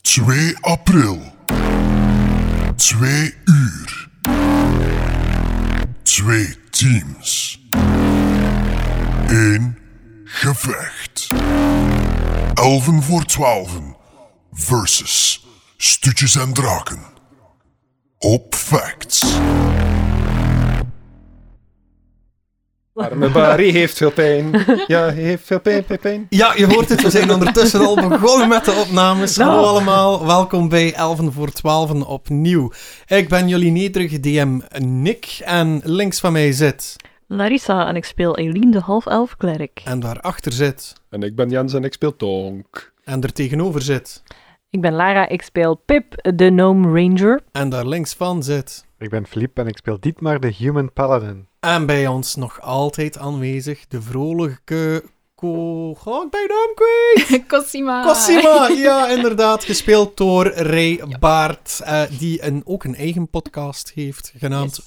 2 april. 2 uur. Twee teams. Eén gevecht. Elven voor twaalfen versus Stutjes en Draken. Op facts. Arme Barry heeft veel pijn. Ja, hij heeft veel pijn, pijn, pijn. Ja, je hoort het. We zijn ondertussen al begonnen met de opnames. Nou. Hallo allemaal, welkom bij Elven voor 12 opnieuw. Ik ben jullie nederige DM Nick en links van mij zit, Larissa en ik speel Eileen de half-elf klerk. en daarachter zit, En ik ben Jens en ik speel Tonk. en er tegenover zit, Ik ben Lara, ik speel Pip, de Gnome Ranger. en daar links van zit. Ik ben Philippe en ik speel Dietmar de Human Paladin. En bij ons nog altijd aanwezig de vrolijke... Ko... Ga ik bij de naam kwijt? Cosima. Cosima, ja, inderdaad. Gespeeld door Ray Baart, eh, die een, ook een eigen podcast heeft genaamd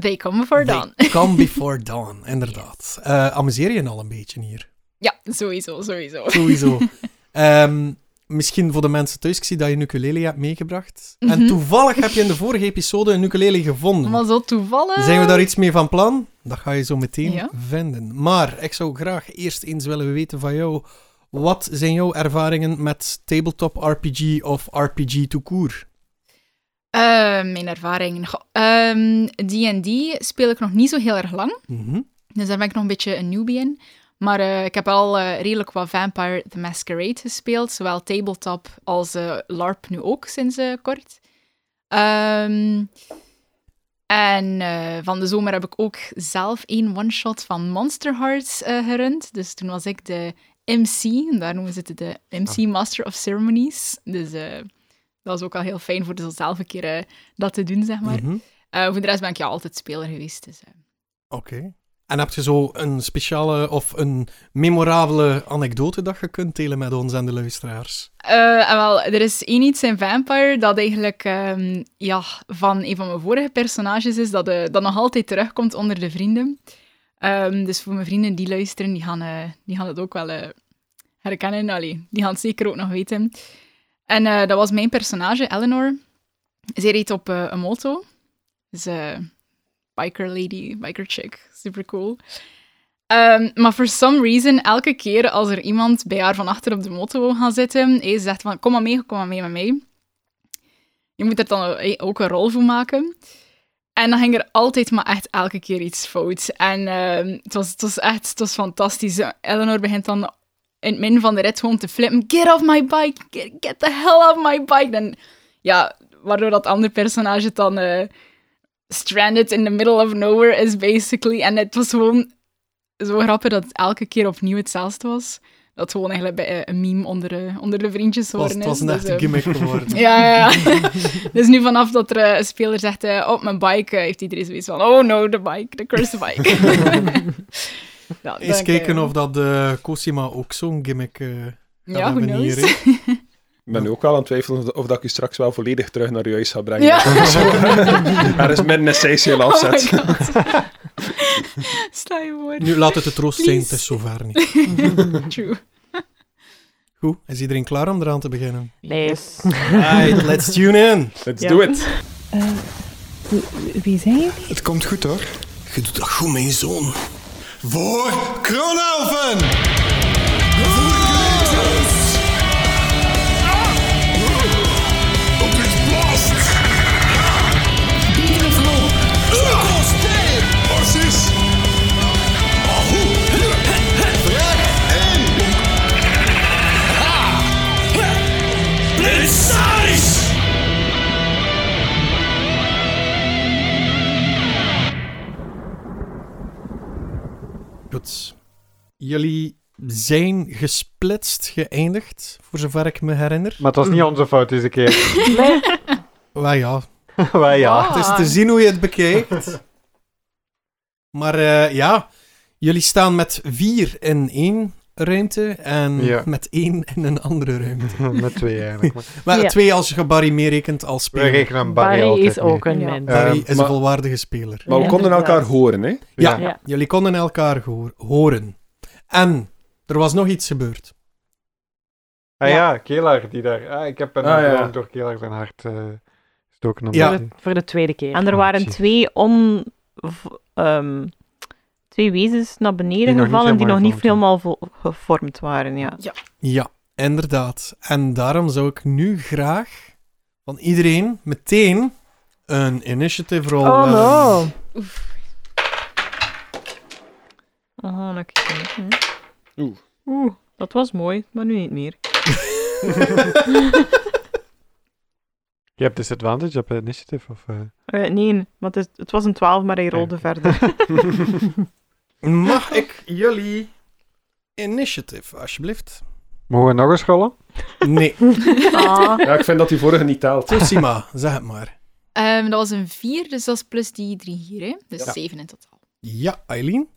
They come for They done. Come Before Dawn, inderdaad. Eh, amuseer je al een beetje hier? Ja, sowieso, sowieso. Sowieso. Ehm, misschien voor de mensen thuis, ik zie dat je een ukulele hebt meegebracht. En Mhm. toevallig heb je in de vorige episode een ukulele gevonden. Maar zo toevallig. Zijn we daar iets mee van plan? Dat ga je zo meteen Ja. vinden. Maar ik zou graag eerst eens willen weten van jou. Wat zijn jouw ervaringen met tabletop RPG of RPG to court? Eh, mijn ervaring. Goh, ehm, D&D speel ik nog niet zo heel erg lang. Mhm. Dus daar ben ik nog een beetje een newbie in. Maar eh, ik heb al eh, redelijk wat Vampire the Masquerade gespeeld. Zowel tabletop als eh, LARP nu ook sinds eh, kort. Ehm, en eh, van de zomer heb ik ook zelf één one-shot van Monster Hearts eh, gerund. Dus toen was ik de MC. en Daar noemen ze het de MC Master of Ceremonies. Dus eh, dat was ook al heel fijn voor dus zelf een keer eh, dat te doen, zeg maar. Mhm. Eh, voor de rest ben ik ja altijd speler geweest. Dus, eh, Oké. En heb je zo een speciale of een memorabele anekdote dat je kunt delen met ons en de luisteraars? Eh, en wel, er is één iets in Vampire dat eigenlijk ehm, ja, van een van mijn vorige personages is, dat, eh, dat nog altijd terugkomt onder de vrienden. Ehm, dus voor mijn vrienden die luisteren, die gaan, eh, die gaan het ook wel eh, herkennen. Allee, die gaan het zeker ook nog weten. En eh, dat was mijn personage, Eleanor. Zij reed op eh, een moto. Dus eh, biker lady, biker chick. Super cool. Ehm, maar for some reason, elke keer als er iemand bij haar van achter op de motor wil gaan zitten, hij zegt van, kom maar mee, kom maar mee met mij. Je moet er dan eh, ook een rol voor maken. En dan ging er altijd maar echt elke keer iets fout. En ehm, het, was, het was echt het was fantastisch. Eh, Eleanor begint dan in het midden van de rit gewoon te flippen. Get off my bike! Get, get the hell off my bike! En ja, waardoor dat andere personage het dan eh, stranded in the middle of nowhere is, basically. En het was gewoon zo grappig dat het elke keer opnieuw hetzelfde was. Dat het gewoon eigenlijk bij, eh, een meme onder, eh, onder de vriendjes Het was, horen is. het was een Dus, echte eh, gimmick geworden. ja, ja, ja. dus nu vanaf dat er eh, een speler zegt, eh, op mijn bike, eh, heeft iedereen zoiets van, oh no, de bike, de cursed bike. ja, Eens dan, kijken eh, of dat de Cosima ook zo'n gimmick eh gaat Ja, who hebben knows? hier. hè. Ik ben ook wel aan het twijfelen of- of dat ik u straks wel volledig terug naar uw huis ga brengen. Ja. er is midden een sessie al oh my afzet. god. Sta je voor. Nu laat het de troost zijn, het Please. is zover niet. True. Goed, is iedereen klaar om eraan te beginnen? Nee. Alright, let's tune in. Let's Ja. do it. Wie zijn jullie? Het komt goed hoor. Je doet dat goed, mijn zoon. Voor Kronelven! Op dit blast! Arsis! Ahu! En! Blitz! Goed. Jullie zijn gesplitst geëindigd, voor zover ik me herinner. Maar het Mm. was niet onze fout deze keer. Nee. Wel ja, Wij ja. Ah. Het is te zien hoe je het bekijkt. Maar eh, ja, jullie staan met vier in één ruimte en Ja. met één in een andere ruimte. Met twee eigenlijk. maar Maar Ja. twee als je Barry meerekent als We speler. rekenen aan Barry, Barry altijd is ook mee. een Ja. mens. Eh, Barry is een maar- volwaardige speler. Maar we Ja, konden elkaar inderdaad. horen, hè? Ja, Ja. jullie konden elkaar gehoor- horen. En er was nog iets gebeurd. Ah ja, Kelaar die daar. Ah, ik heb een Ah, ja. gewoon door Kelaar zijn hart eh gestoken. omdat Ja. hij- Voor de tweede keer. En er waren precies. twee on... v- ehm, twee wezens naar beneden Die nog niet gevallen die nog helemaal niet gevormd helemaal vo- gevormd waren, ja. Ja, inderdaad. En daarom zou ik nu graag van iedereen meteen een initiative rol Oh willen. no. Oh, lucky. Hm. Oeh. Oeh, dat was mooi, maar nu niet meer. Je hebt disadvantage op initiative of... eh, Eh, nee, want het, het was een 12, maar hij rolde Ja. verder. Mag ik jullie initiative, alsjeblieft? Mogen we nog eens rollen? Nee. Ah, Ja, ik vind dat die vorige niet telt. Tosima, zeg het maar. Ehm, dat was een 4, dus dat is plus die 3 hier. Hè? Dus 7 in totaal. Ja, Eileen.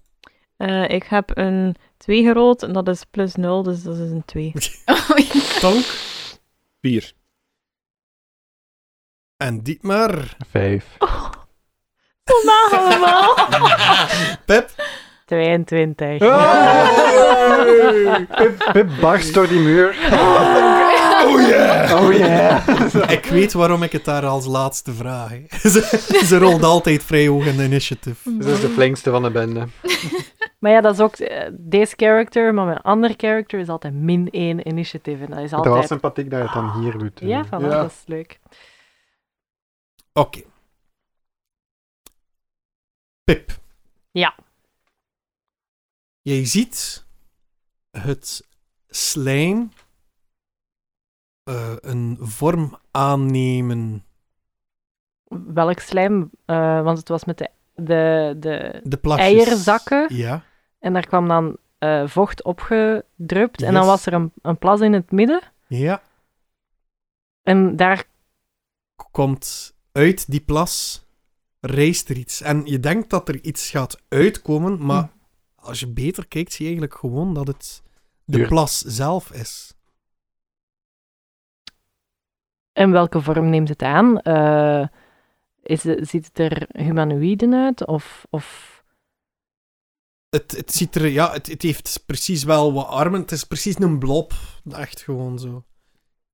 eh, ik heb een 2 gerold en dat is plus 0, dus dat is een 2. Oh, Tonk Vier. en Dietmar. Vijf. Oh, hoe laag allemaal. Pep. 22. Hey! Pip, Pip barst door die muur. Oh yeah! Oh yeah. Ik weet waarom ik het daar als laatste vraag. hè. ze, ze rolt altijd vrij hoog in de initiative. Dit is de flinkste van de bende. Maar ja, dat is ook eh, deze character, maar mijn andere character is altijd min 1 initiative. En dat is Het was altijd... sympathiek dat je het dan hier doet. Ja, van Ja. dat is leuk. Oké. Pip. Ja. Jij ziet het slijm eh, een vorm aannemen. Welk slijm? Eh, want het was met de, de, de... De plasjes. Eierzakken? Ja. En daar kwam dan eh, vocht opgedrupt. En dan Yes. was er een, een plas in het midden. Ja. En daar... K- Komt uit die plas, rijst er iets. En je denkt dat er iets gaat uitkomen, maar als je beter kijkt, zie je eigenlijk gewoon dat het de Duurt. plas zelf is. En welke vorm neemt het aan? Eh, is, het- ziet het er humanoïden uit? Of... of... Het, het ziet er, ja, het, het heeft precies wel wat armen. Het is precies een blob. Echt gewoon zo.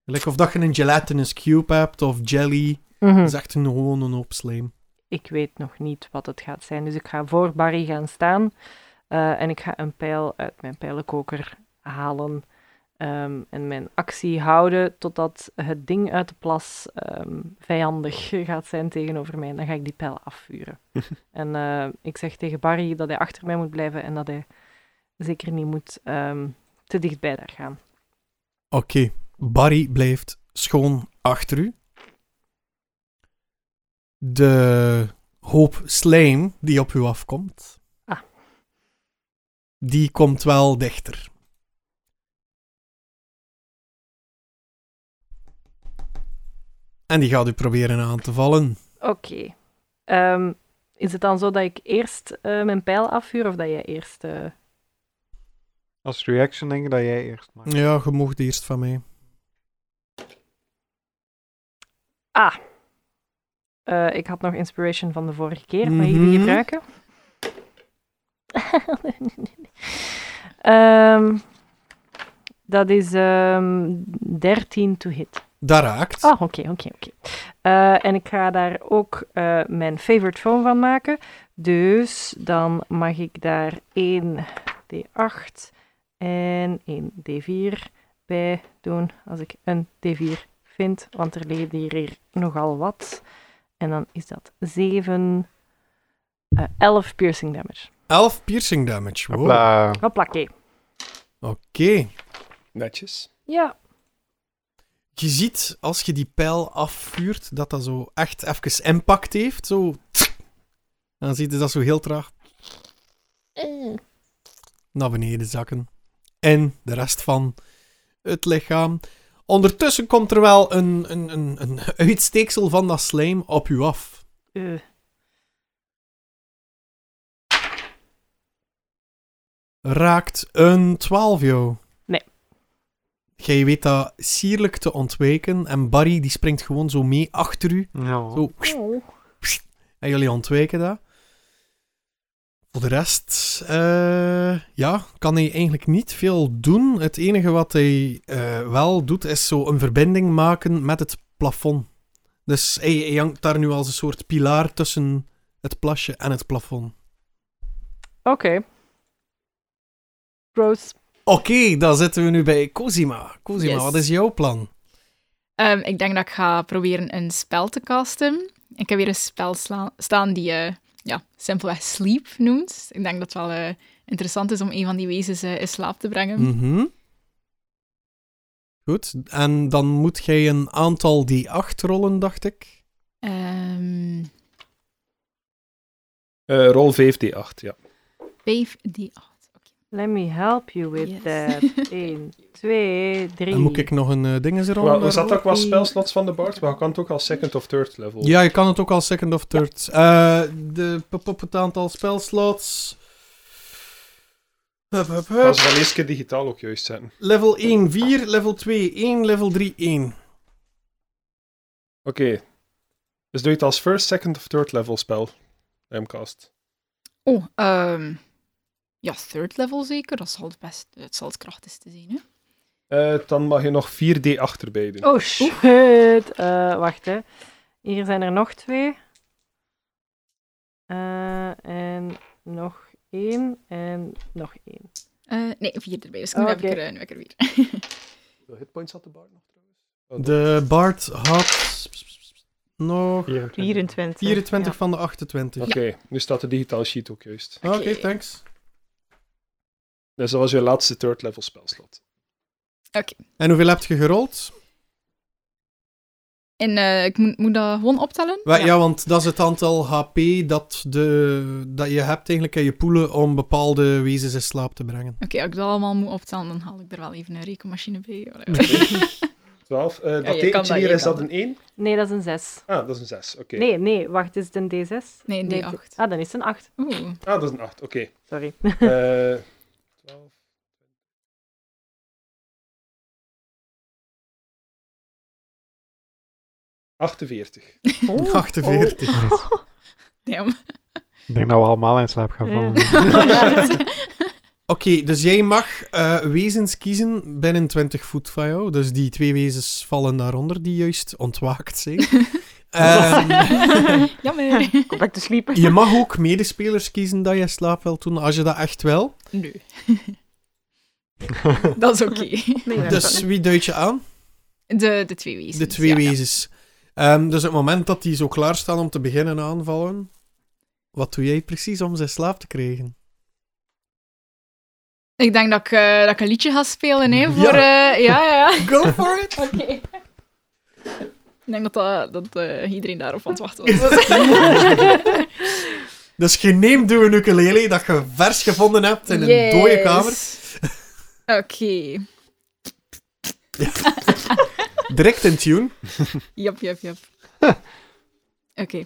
Like of dat je een gelatinous cube hebt of jelly. Mhm. Dat is echt een, gewoon een hoop slijm. ik weet nog niet wat het gaat zijn. Dus ik ga voor Barry gaan staan eh, en ik ga een pijl uit mijn pijlenkoker halen ehm, en mijn actie houden totdat het ding uit de plas ehm, vijandig gaat zijn tegenover mij. En dan ga ik die pijl afvuren. en eh, ik zeg tegen Barry dat hij achter mij moet blijven en dat hij zeker niet moet ehm, te dichtbij daar gaan. Oké, Barry blijft schoon achter u. De hoop slijm die op u afkomt, Ah. die komt wel dichter. En die gaat u proberen aan te vallen. Oké. Ehm, is het dan zo dat ik eerst eh, mijn pijl afvuur of dat jij eerst... eh, Als reaction denk ik dat jij eerst maakt. Ja, je mocht eerst van mij. Eh, ik had nog inspiration van de vorige keer, maar jullie Mhm. gebruiken. Ehm, dat is ehm 13 to hit. Dat raakt. Ah, oké, oké, oké. Eh, en ik ga daar ook eh, mijn favorite phone van maken. Dus dan mag ik daar 1 D8 en 1 D4 bij doen. Als ik een D4 vind, want er liggen hier, hier nogal wat. En dan is dat 7, eh 11 piercing damage. 11 piercing damage. Wow. Oké. Hopla. Hoppakee. Netjes. Ja, Je ziet als je die pijl afvuurt dat dat zo echt even impact heeft. Zo. Dan ziet je dat zo heel traag naar beneden zakken. En de rest van het lichaam. Ondertussen komt er wel een, een, een, een uitsteeksel van dat slijm op u af. eh, Raakt een 12 jou. Nee. Jij weet dat sierlijk te ontwijken. En Barry die springt gewoon zo mee achter u. Oh. Ja. Zo. En jullie ontwijken dat. Voor de rest, eh, ja, kan hij eigenlijk niet veel doen. Het enige wat hij eh, wel doet, is zo een verbinding maken met het plafond. Dus hij, hij hangt daar nu als een soort pilaar tussen het plasje en het plafond. Oké. Gross. Oké, dan zitten we nu bij Cosima. Cosima, Yes. wat is jouw plan? Ehm, ik denk dat ik ga proberen een spel te casten. Ik heb weer een spel sla- staan die eh, ja, simpelweg sleep noemt. Ik denk dat het wel eh, interessant is om een van die wezens eh, in slaap te brengen. Hmm. Mhm. Goed, en dan moet jij een aantal die 8 rollen, dacht ik. Ehm, Eh, rol 5d8, ja. vijf, die acht. Oké. Let me help you with Yes. that. 1, 2, 3. En moet ik nog een eh dingetje Wel, rollen? was dat daarvoor? ook wel spelslots van de bard? Maar je kan het ook als second of third level. Ja, je kan het ook als second of third. Eh de, pop op het aantal spelslots. Hup, hup, hup. Dat is wel eerst keer digitaal ook juist zetten. Level 1, 4. Level 2, 1. Level 3, 1. Oké. Dus doe je het als first, second of third level spel. Timecast. Oh, ehm, ja, third level zeker. Dat zal het, best, het, zal het krachtigste zijn. Hè? Eh, dan mag je nog 4d8 erbij doen. Oh shit. Eh, wacht hè. Hier zijn er nog twee. Eh, en nog één. En nog één. Eh, nee, vier erbij. Dus ik moet Oh, even oké. er, eh, nu heb ik er weer. Hoeveel hitpoints had de bard nog trouwens? Oh, De Bart had nog 24. 24 Ja. van de 28. Oké, nu staat de digitale sheet ook juist. Oké, Oké. thanks. Dus dat was je laatste third level spelslot. En hoeveel heb je gerold? En eh, ik moet, moet dat gewoon optellen? Wel, Ja. want dat is het aantal HP dat, de, dat je hebt eigenlijk in je poelen om bepaalde wezens in slaap te brengen. Oké, als ik dat allemaal moet optellen, dan haal ik er wel even een rekenmachine bij. Allee. 12. eh dat je kan tekentje dat, hier, je is kan dat dat. een 1? Nee, dat is een zes. Ah, dat is een 6. Oké. Nee, nee, wacht, is het een D6? Nee, een Nee, D8. Ah, dan is het een 8. Oeh. Ah, dat is een 8. Oké. Sorry. Eh 12. Achtenveertig. Oh, 48. Damn. Ik denk dat we allemaal in slaap gaan Ja. vallen. Oké, dus jij mag eh, wezens kiezen binnen 20 voet van jou. Dus die twee wezens vallen daaronder die juist ontwaakt zijn. Ehm, Jammer. Kom back to sleep. je mag ook medespelers kiezen dat je in slaap wil doen, als je dat echt wil. Nee. dat is oké. Nee, dat Dus wie duid je aan? De, de twee wezens. De twee ja, ja. wezens. Ehm, dus op het moment dat die zo klaarstaan om te beginnen aanvallen, wat doe jij precies om ze in slaap te krijgen? Ik denk dat ik, eh, dat ik een liedje ga spelen, hè. Ja. Voor, ja. ja, ja. Go for it! Oké. Ik denk dat, dat, dat eh, iedereen daarop aan het wachten was. Dus je neemt uw ukulele dat je vers gevonden hebt in een dode kamer. Yes. Oké. Direct in tune. Jap, jap, jap. Oké.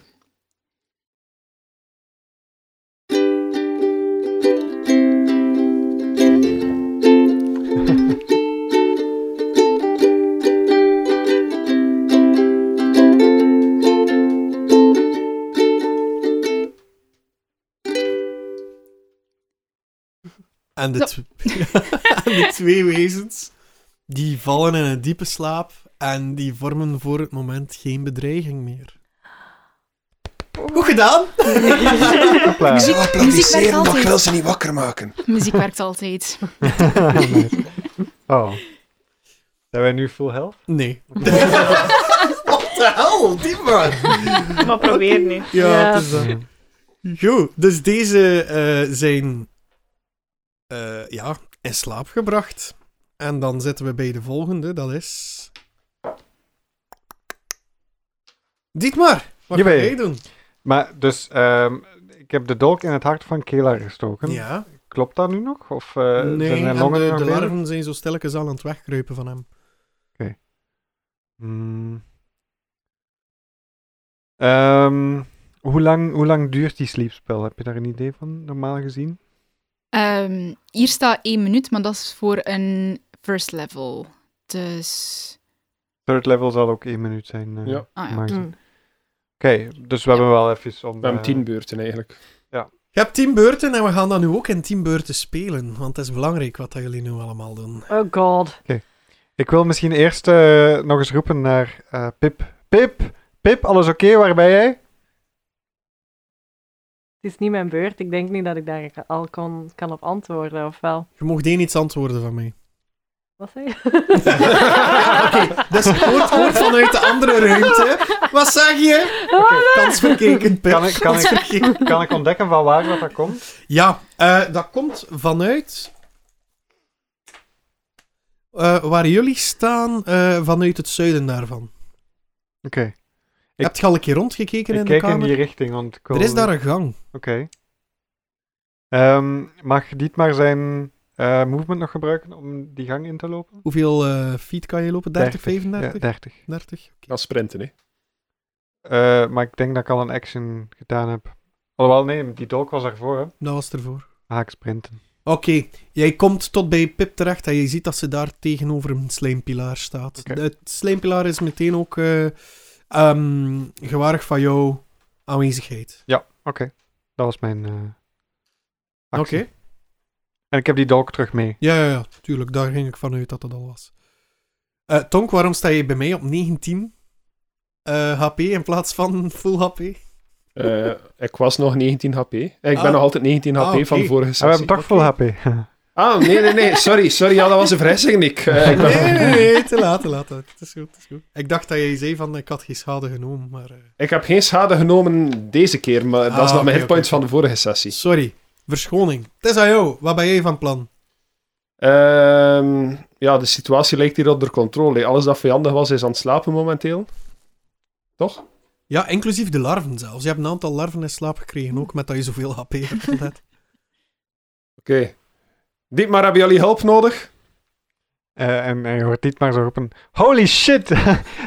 En de, Zo. tw- en de twee wezens, die vallen in een diepe slaap en die vormen voor het moment geen bedreiging meer. Goed gedaan! Muziek, muziek werkt altijd. ze niet wakker maken. Muziek werkt altijd. Nice. Oh. Zijn wij nu full health? Nee. Wat de hel, die man! Maar probeer nu. Ja, Ja. het is dat. Goed, dus deze eh, zijn eh, ja, in slaap gebracht. En dan zitten we bij de volgende, dat is... Dietmar, wat ga Jawel. jij doen? Maar dus, ehm, ik heb de dolk in het hart van Kela gestoken. Ja, Klopt dat nu nog? Of eh, zijn nee, en mijn longen de, nog de bezig? larven zijn zo stilletjes al aan het wegkruipen van hem. Hmm. Ehm, hoe, lang, hoe lang duurt die sleepspel? Heb je daar een idee van, normaal gezien? Ehm, hier staat één minuut, maar dat is voor een first level. Dus... Third level zal ook één minuut zijn. eh, Ja. Ah ja. normaal gezien. Mm. Oké, dus we hebben wel even om... We hebben eh, 10 beurten eigenlijk. Je hebt 10 beurten en we gaan dat nu ook in 10 beurten spelen. Want het is belangrijk wat dat jullie nu allemaal doen. Oh god. Ik wil misschien eerst eh, nog eens roepen naar eh, Pip. Pip! Pip, alles oké? Waar ben jij? Het is niet mijn beurt. Ik denk niet dat ik daar al kon, kan op antwoorden, of wel? Je mocht één iets antwoorden van mij. Wat zei je? Oké, dus hoort, hoort vanuit de andere ruimte. Wat zeg je? Kans verkeken, Pip. Kan ik- kan Kans ik- verkeken. Kan ik ontdekken van waar dat, dat komt? Ja, eh, dat komt vanuit... eh, waar jullie staan, eh, vanuit het zuiden daarvan. Oké, Ik- Heb je al een keer rondgekeken ik in kijk de in kamer? die richting, want ik wil- Er is daar een gang. Oké. Ehm, mag Dietmar zijn eh, movement nog gebruiken om die gang in te lopen? Hoeveel eh, feet kan je lopen? 30, 35? Ja, 30. 30? Oké. Dat is sprinten, hè. Eh, maar ik denk dat ik al een action gedaan heb. Alhoewel, nee, die dolk was daarvoor, hè. Dat was ervoor. Haak sprinten. Oké, jij komt tot bij Pip terecht en je ziet dat ze daar tegenover een slijmpilaar staat. Oké. Het slijmpilaar is meteen ook eh ehm, gewaardig van jouw aanwezigheid. Ja, oké. Dat was mijn eh, Oké. actie. En ik heb die dolk terug mee. Ja, ja, ja, tuurlijk. Daar ging ik vanuit dat dat al was. Eh, Tonk, waarom sta je bij mij op 19 eh, HP in plaats van full HP? Eh, ik was nog 19 HP. Eh, Ik Ah. ben nog altijd 19 HP Ah, oké. van de vorige Ah, we hebben sessie. toch oké. vol HP. Ah, nee, nee, nee. Sorry, sorry. Ja, dat was een verrassing, Nick. Eh, ik ben- Nee, nee, nee, te laat, te laat. Het is goed, het is goed. Ik dacht dat jij zei van ik had geen schade genomen, maar... eh, Ik heb geen schade genomen deze keer, maar dat Ah, is nog oké, mijn hitpoints oké. van de vorige sessie. Sorry, verschoning. Het is aan jou. Wat ben jij van plan? Ehm, ja, de situatie lijkt hier onder controle. Alles dat vijandig was, is aan het slapen momenteel. Toch? Ja, inclusief de larven zelfs. Je hebt een aantal larven in slaap gekregen, ook met dat je zoveel HP hebt. gelet. Oké. Dietmar, hebben jullie hulp nodig? Eh, en, en je hoort Dietmar zo roepen. Holy shit! ik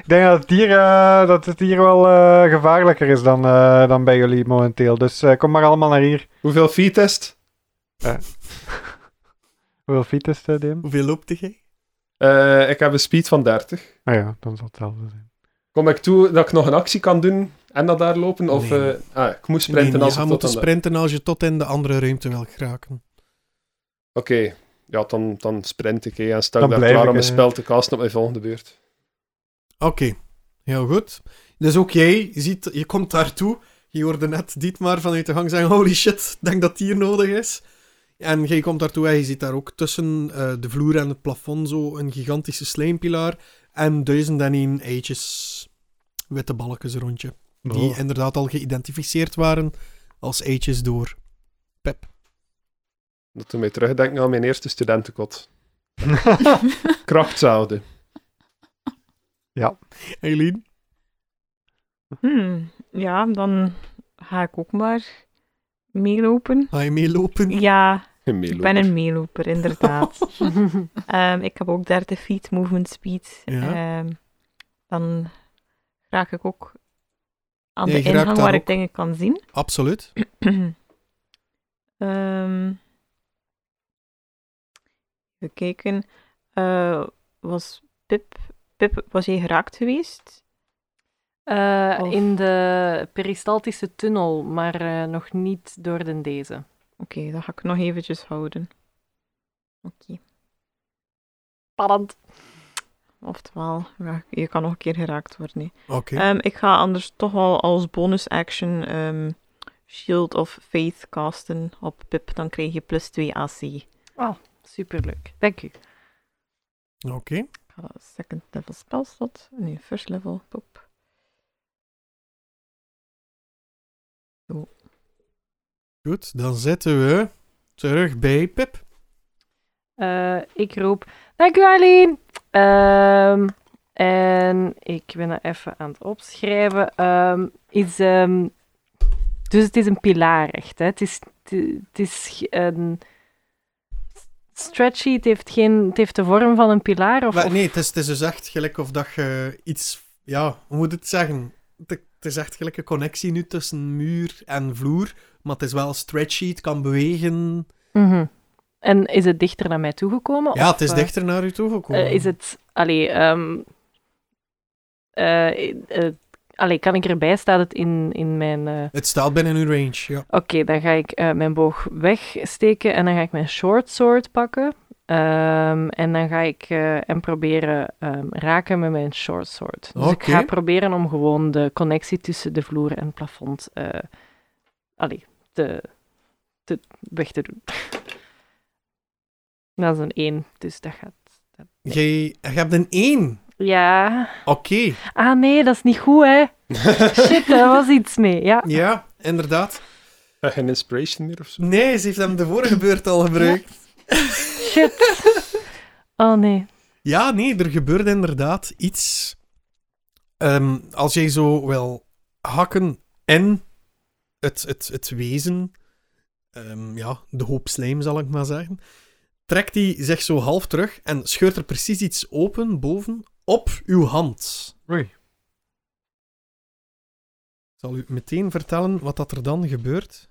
denk dat het hier, eh, dat het hier wel eh, gevaarlijker is dan, eh, dan bij jullie momenteel. Dus eh, kom maar allemaal naar hier. Hoeveel feet is het? Hoeveel fiets is het, Dim? Hoeveel loopt jij? Eh, ik heb een speed van 30. Nou ja, dan zal het hetzelfde zijn. Kom ik toe dat ik nog een actie kan doen en dat daar lopen? Of Nee. eh, ah, ik moest sprinten nee, als je ik tot gaat moeten aan de- Oké, sprinten als je tot in de andere ruimte wil geraken. ja, dan, dan sprint ik hè, en sta ik Dan daar blijf klaar ik, om een eh. spel te casten op mijn volgende beurt. Oké, heel goed. Dus ook jij ziet, je komt daartoe. Je hoorde net Dietmar vanuit de gang zeggen: Holy shit, ik denk dat die hier nodig is. En jij komt daartoe en je ziet daar ook tussen eh, de vloer en het plafond zo een gigantische slijmpilaar. En duizend en één eitjes, witte balkjes rondje. Die Oh. inderdaad al geïdentificeerd waren als eitjes door Pep. Dat doet mij terugdenken aan mijn eerste studentenkot. Krachtzouden. Eileen? Hmm, ja, dan ga ik ook maar meelopen. Ga je meelopen? Ja, Een ik meeloper. ben een meeloper, inderdaad. dus- Ehm, ik heb ook 30 feet movement speed. Ja. Ehm, dan raak ik ook aan Ja, de je raakt ingang daar waar ik ook. dingen kan zien. Absoluut. Ehm even kijken. Eh, was Pip, Pip, was jij geraakt geweest? Eh, Of- In de peristaltische tunnel, maar eh, nog niet door de deze. Oké, dat ga ik nog eventjes houden. Oké. Spannend. Oftewel, ja, je kan nog een keer geraakt worden. hè. Oké. Ehm, ik ga anders toch wel als bonus action ehm, Shield of Faith casten op Pip. Dan krijg je plus 2 AC. Ik Superleuk. Dank u. Oké. ga dat second level spelslot. Nee, first level. Pop. Goed, dan zitten we terug bij Pip. Eh, ik roep, dank u Aileen. Ehm, en ik ben dat even aan het opschrijven. Ehm, is, ehm, dus het is een pilaar echt. Hè? Het is, het is ge- een stretchy, het heeft, geen, het heeft de vorm van een pilaar. Of, Maar of- nee, het is, het is dus echt gelijk of dat je iets... Ja, hoe moet ik het zeggen? Het, het is echt gelijk een connectie nu tussen muur en vloer. Maar het is wel stretchy, het kan bewegen. Mhm. En is het dichter naar mij toegekomen? Ja, of, het is eh, dichter naar u toegekomen. Eh, is het, allee, ehm, eh, eh, Allee, kan ik erbij? Staat het in, in mijn... eh, Het staat binnen uw range, ja. Oké, dan ga ik eh, mijn boog wegsteken en dan ga ik mijn short sword pakken. Ehm, en dan ga ik eh, en proberen ehm, raken met mijn short sword. Dus ik Oké. ga proberen om gewoon de connectie tussen de vloer en het plafond eh allee, te, te, weg te doen. Dat is een 1, dus dat gaat. Jij je hebt een 1. Ja. Oké. Ah nee, dat is niet goed, hè? Shit, daar was iets mee. Ja. Ja, inderdaad. Eh, Geen inspiration meer of zo? Nee, ze heeft hem de vorige beurt al gebruikt. Shit. Oh nee. Ja, nee, er gebeurde inderdaad iets. Ehm, als jij zo wil hakken en het, het, het wezen, ehm, ja, de hoop slijm zal ik maar zeggen, trekt hij zich zo half terug en scheurt er precies iets open boven op uw hand. Oei. Ik zal u meteen vertellen wat dat er dan gebeurt.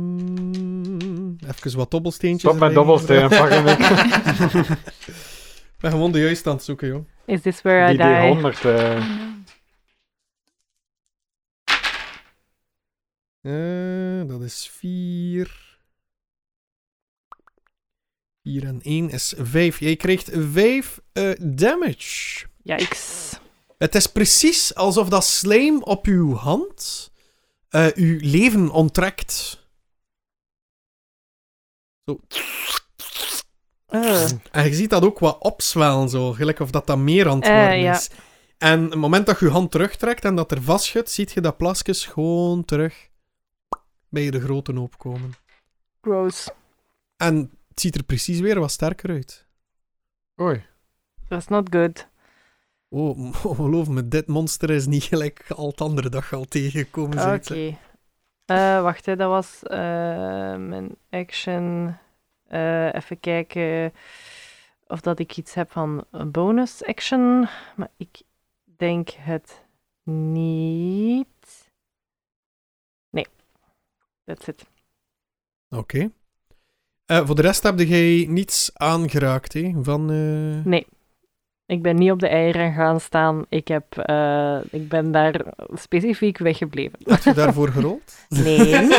Ehm, even wat dobbelsteentjes. Stop met erbij. dobbelstenen pakken. hè. Ik ben gewoon de juiste aan het zoeken, joh. Is this where I Die, die die? 100. eh, Eh, dat is 4. 4 en 1 is 5. Jij krijgt 5 damage. Yikes. Het is precies alsof dat slijm op uw hand eh, uw leven onttrekt. Zo. Eh. En je ziet dat ook wat opzwellen, zo. Gelijk of dat, dat meer aan het Eh, worden ja. is. En het moment dat je je hand terugtrekt en dat er vastschut, ziet je dat plasjes gewoon terug bij de grote hoop komen. Gross. En het ziet er precies weer wat sterker uit. Oei. That's not good. Oh, m- geloof me, dit monster is niet gelijk al het andere dag al tegengekomen. Oké. zoiets, hè. Eh, wacht, hè, dat was eh, mijn action. Eh, even kijken of dat ik iets heb van een bonus action. Maar ik denk het niet. Nee. That's it. Oké. Eh, voor de rest heb jij niets aangeraakt, hè? Van, eh, Ik ben niet op de eieren gaan staan. Ik, heb, eh, ik ben daar specifiek weggebleven. Had je daarvoor gerold? Nee.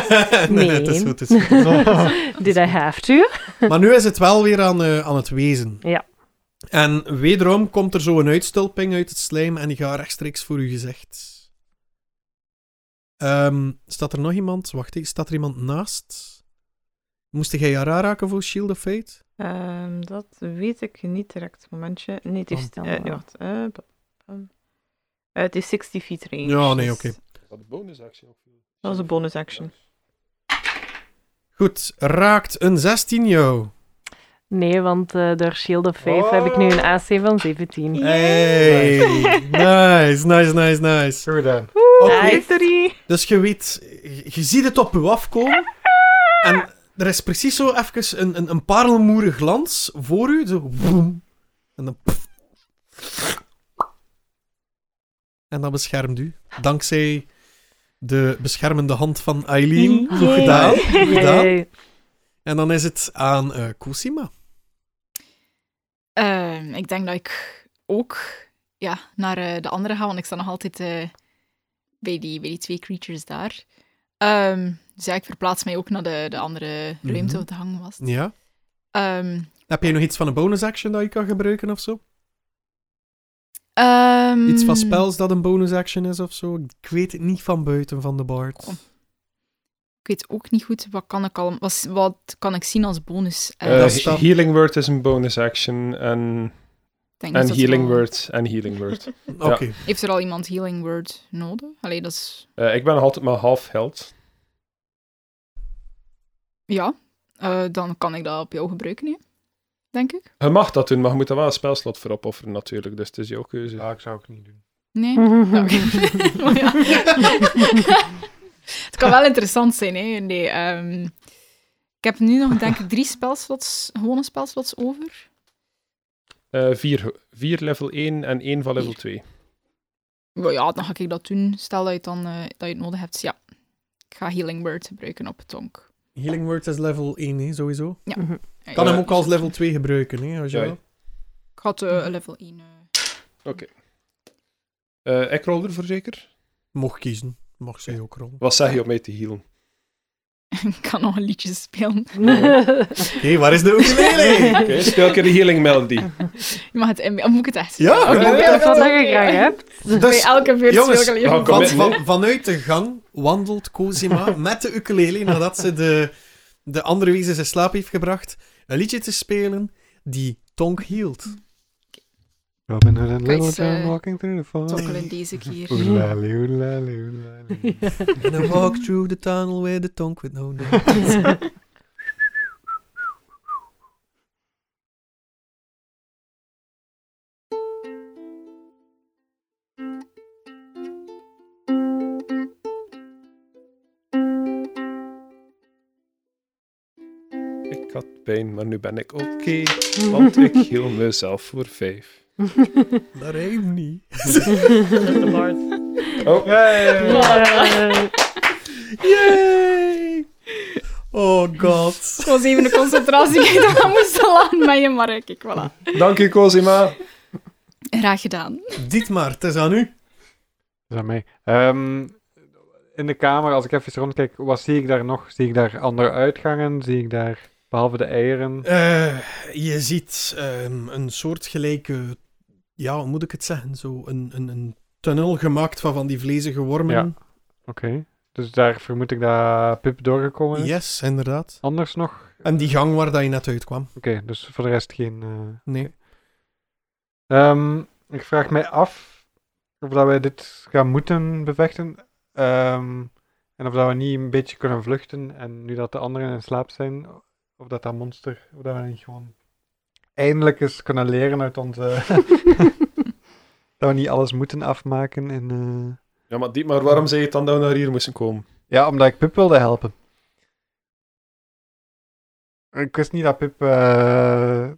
nee, het is goed. Het is goed. Did I have to? Maar nu is het wel weer aan, eh, aan het wezen. Ja. En wederom komt er zo een uitstulping uit het slijm en die gaat rechtstreeks voor uw gezicht. Ehm, staat er nog iemand? Wacht, hè, staat er iemand naast? Moest jij haar aanraken voor Shield of Fate? Ehm, dat weet ik niet direct. Momentje. Nee, het is... Oh. eh, nee, wacht. Eh, pa- pa- eh, het is 60 feet range. Ja, nee, dus oké. Is dat een bonus actie? Dat was een bonus action. Goed, raakt een 16 jou. Nee, want eh, door Shield of Faith heb ik nu een AC van 17. Hey, nice, nice, nice, nice. Goed dan. Oké. Victory! Dus je weet, je- je ziet het op je afkomen. En er is precies zo even een, een, een parelmoerig glans voor u. Zo, boem. En dan... pff. En dat beschermt u. Dankzij de beschermende hand van Eileen. Goed Mm. Yay. gedaan. Goed gedaan. Yay. En dan is het aan eh Cosima. Ehm, ik denk dat ik ook ja, naar eh, de andere ga, want ik sta nog altijd eh, bij, die, bij die twee creatures daar. Ehm, dus ja, ik verplaats mij ook naar de, de andere Mhm. ruimte waar de hangen was. Ja. Ehm, Heb jij nog iets van een bonus action dat je kan gebruiken of zo? ehm, Iets van spells dat een bonus action is of zo? Ik weet het niet van buiten van de bard. Goh. Ik weet ook niet goed, wat kan ik, al, wat, wat kan ik zien als bonus? Eh, Eh, dat is dan- healing word is een bonus action en, ik denk dus en dat er healing al- word en healing word. Oké. Heeft er al iemand healing word nodig? Allee, dat is... Eh, ik ben nog altijd maar half held. Ja, Eh, dan kan ik dat op jou gebruiken, hè? denk ik. Je mag dat doen, maar je moet er wel een spelslot voor opofferen natuurlijk, dus het is jouw keuze. Ja, ik zou het niet doen. Nee? Nou. Ja, oké. Maar ja. het kan wel interessant zijn, hè? Nee, ehm, ik heb nu nog, denk ik, drie spelslots, gewone spelslots over. Eh, vier, vier level 1 en één van level 2. Maar ja, dan ga ik dat doen. Stel dat je het, dan, eh, dat je het nodig hebt. Ja, ik ga Healing Word gebruiken op het tonk. Healing Word is level 1, hè, sowieso. Ja. Mhm. Kan Ja. hem ook als level 2 gebruiken, hè, als je Ja. wil. Ik had eh, level 1. eh, Eh, ik rol ervoor zeker? Mocht kiezen. Mag zij ook rollen. Wat zeg je om mij te healen? Ik kan nog een liedje spelen. Hé, waar is de ukulele? Oké, speel ik de healing melody. Je mag het inbeelden. Moet ik het echt Ja, spelen? Oh, oké. Dat Ja, is wat oké. je graag hebt. Bij Dus, elke beurt jongens, speel ik al nou, even. kom van, in, hè. van, vanuit de gang wandelt Cosima met de ukulele nadat ze de, de andere wezens in slaap heeft gebracht, een liedje te spelen die Tonk hield. Robin Hood and Kijk Little eens, John eh, walking through the forest. Tokkelen deze keer. Oelali, oelali, oelali. And I walk through the tunnel where the Tonk with no name. Ik had pijn, maar nu ben ik oké. want ik heal mezelf voor vijf. Dat rijmt niet. Oh, Eh, Yay! Oh god. Het was even de concentratie die ik ervan moest laten met je, maar kijk, voilà. dank je, Cosima. Graag gedaan. Dit maar, het is aan u. Is dat mee? Ehm, in de kamer, als ik even rondkijk, wat zie ik daar nog? Zie ik daar andere uitgangen? Zie ik daar, behalve de eieren, Eh, je ziet ehm, een soortgelijke, ja, hoe moet ik het zeggen, zo een, een, een tunnel gemaakt van van die vlezige wormen. Oké. Dus daar vermoed ik dat Pip doorgekomen is. Yes, inderdaad. Anders nog? En die gang waar dat je net uitkwam. Oké, dus voor de rest geen... eh. Nee. Ehm, ik vraag mij af of dat wij dit gaan moeten bevechten. Ehm, en of dat we niet een beetje kunnen vluchten. En nu dat de anderen in slaap zijn, of dat dat monster, of dat we niet gewoon eindelijk eens kunnen leren uit onze... dat we niet alles moeten afmaken. En, eh, Ja, maar Diep, maar waarom zei je het dan dat we naar hier moesten komen? Ja, omdat ik Pip wilde helpen. Ik wist niet dat Pip. eh,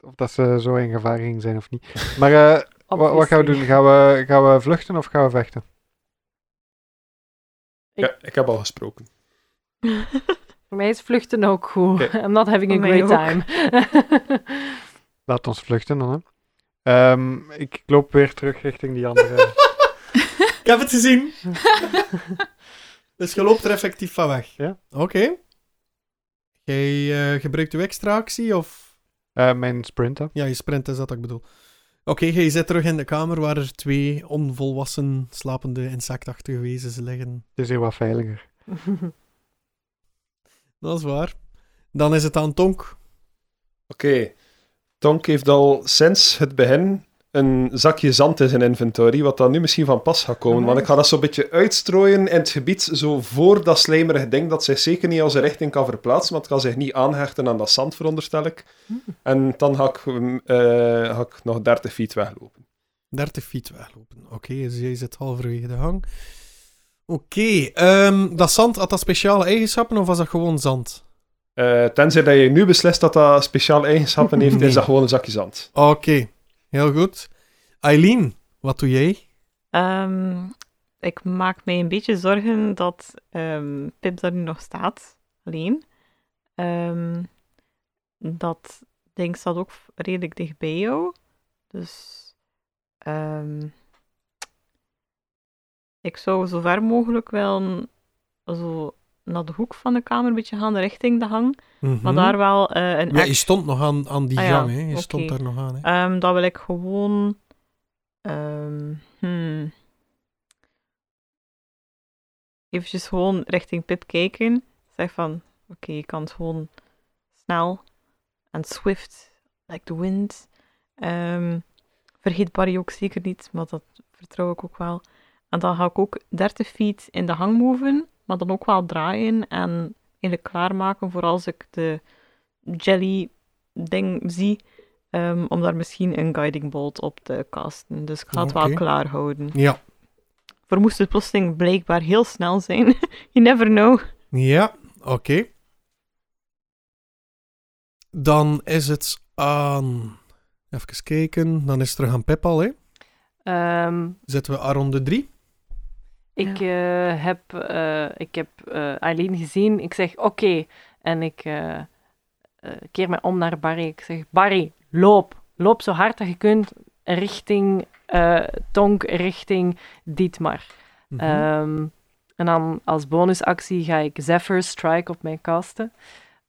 of dat ze zo in gevaar ging zijn of niet. Maar eh, wa- wat gaan we doen? Gaan we, gaan we vluchten of gaan we vechten? Ik- Ja, ik heb al gesproken. Voor mij is vluchten ook goed. Oké. I'm not having a Voor mij great time. Laat ons vluchten dan. Hè. Ehm, ik loop weer terug richting die andere. Ik heb het gezien. dus je loopt er effectief van weg. Ja. Oké. Jij eh, gebruikt uw extra actie of... Eh, mijn sprint. Hè. Ja, je sprint is dat wat ik bedoel. Oké, jij zit terug in de kamer waar er twee onvolwassen, slapende, insectachtige wezens liggen. Het is hier wat veiliger. Dat is waar. Dan is het aan Tonk. Oké. Tonk heeft al sinds het begin een zakje zand in zijn inventory, wat dan nu misschien van pas gaat komen. Want ik ga dat zo'n beetje uitstrooien in het gebied, zo voor dat slijmerige ding, dat zich zeker niet als een richting kan verplaatsen, want het kan zich niet aanhechten aan dat zand, veronderstel ik. Hmm. En dan ga ik, mm, eh, ga ik nog 30 feet weglopen. 30 feet weglopen. Oké, dus jij zit halverwege de gang. Oké, ehm, dat zand had dat speciale eigenschappen of was dat gewoon zand? Eh, tenzij dat je nu beslist dat dat speciale eigenschappen heeft, Nee. is dat gewoon een zakje zand. Oké, heel goed. Eileen, wat doe jij? Ehm, ik maak mij een beetje zorgen dat ehm, Pip daar nu nog staat, alleen. Ehm, dat ding staat ook v- redelijk dicht bij jou. Dus ehm, ik zou zo ver mogelijk wel zo naar de hoek van de kamer een beetje gaan, richting de hang. Maar daar wel eh, een Mhm. Ja, je act- stond nog aan, aan die Ah ja, gang, hè. Je oké. stond daar nog aan, hè. Ehm, dat wil ik gewoon. ehm hmm. Even gewoon richting Pip kijken. Zeg van: Oké, je kan het gewoon snel en swift, like the wind. Ehm, vergeet Barry ook zeker niet, maar dat vertrouw ik ook wel. En dan ga ik ook 30 feet in de hang moven, maar dan ook wel draaien en eigenlijk klaarmaken voor als ik de jelly-ding zie. Ehm, om daar misschien een guiding bolt op te casten. Dus ik ga het Oké. wel klaar houden. Ja. Voor moest het plotseling blijkbaar heel snel zijn. you never know. Ja, oké. Dan is het aan... Even kijken. Dan is het terug aan Pep al, hè. Ehm, Zitten we aan ronde 3. ik, eh, heb, eh, ik heb eh, Eileen gezien. Ik zeg oké. En ik eh, eh, keer me om naar Barry. Ik zeg Barry, loop. Loop zo hard dat je kunt. richting eh, Tonk, richting Dietmar. Mhm. Ehm, en dan als bonusactie ga ik Zephyr Strike op mijn casten.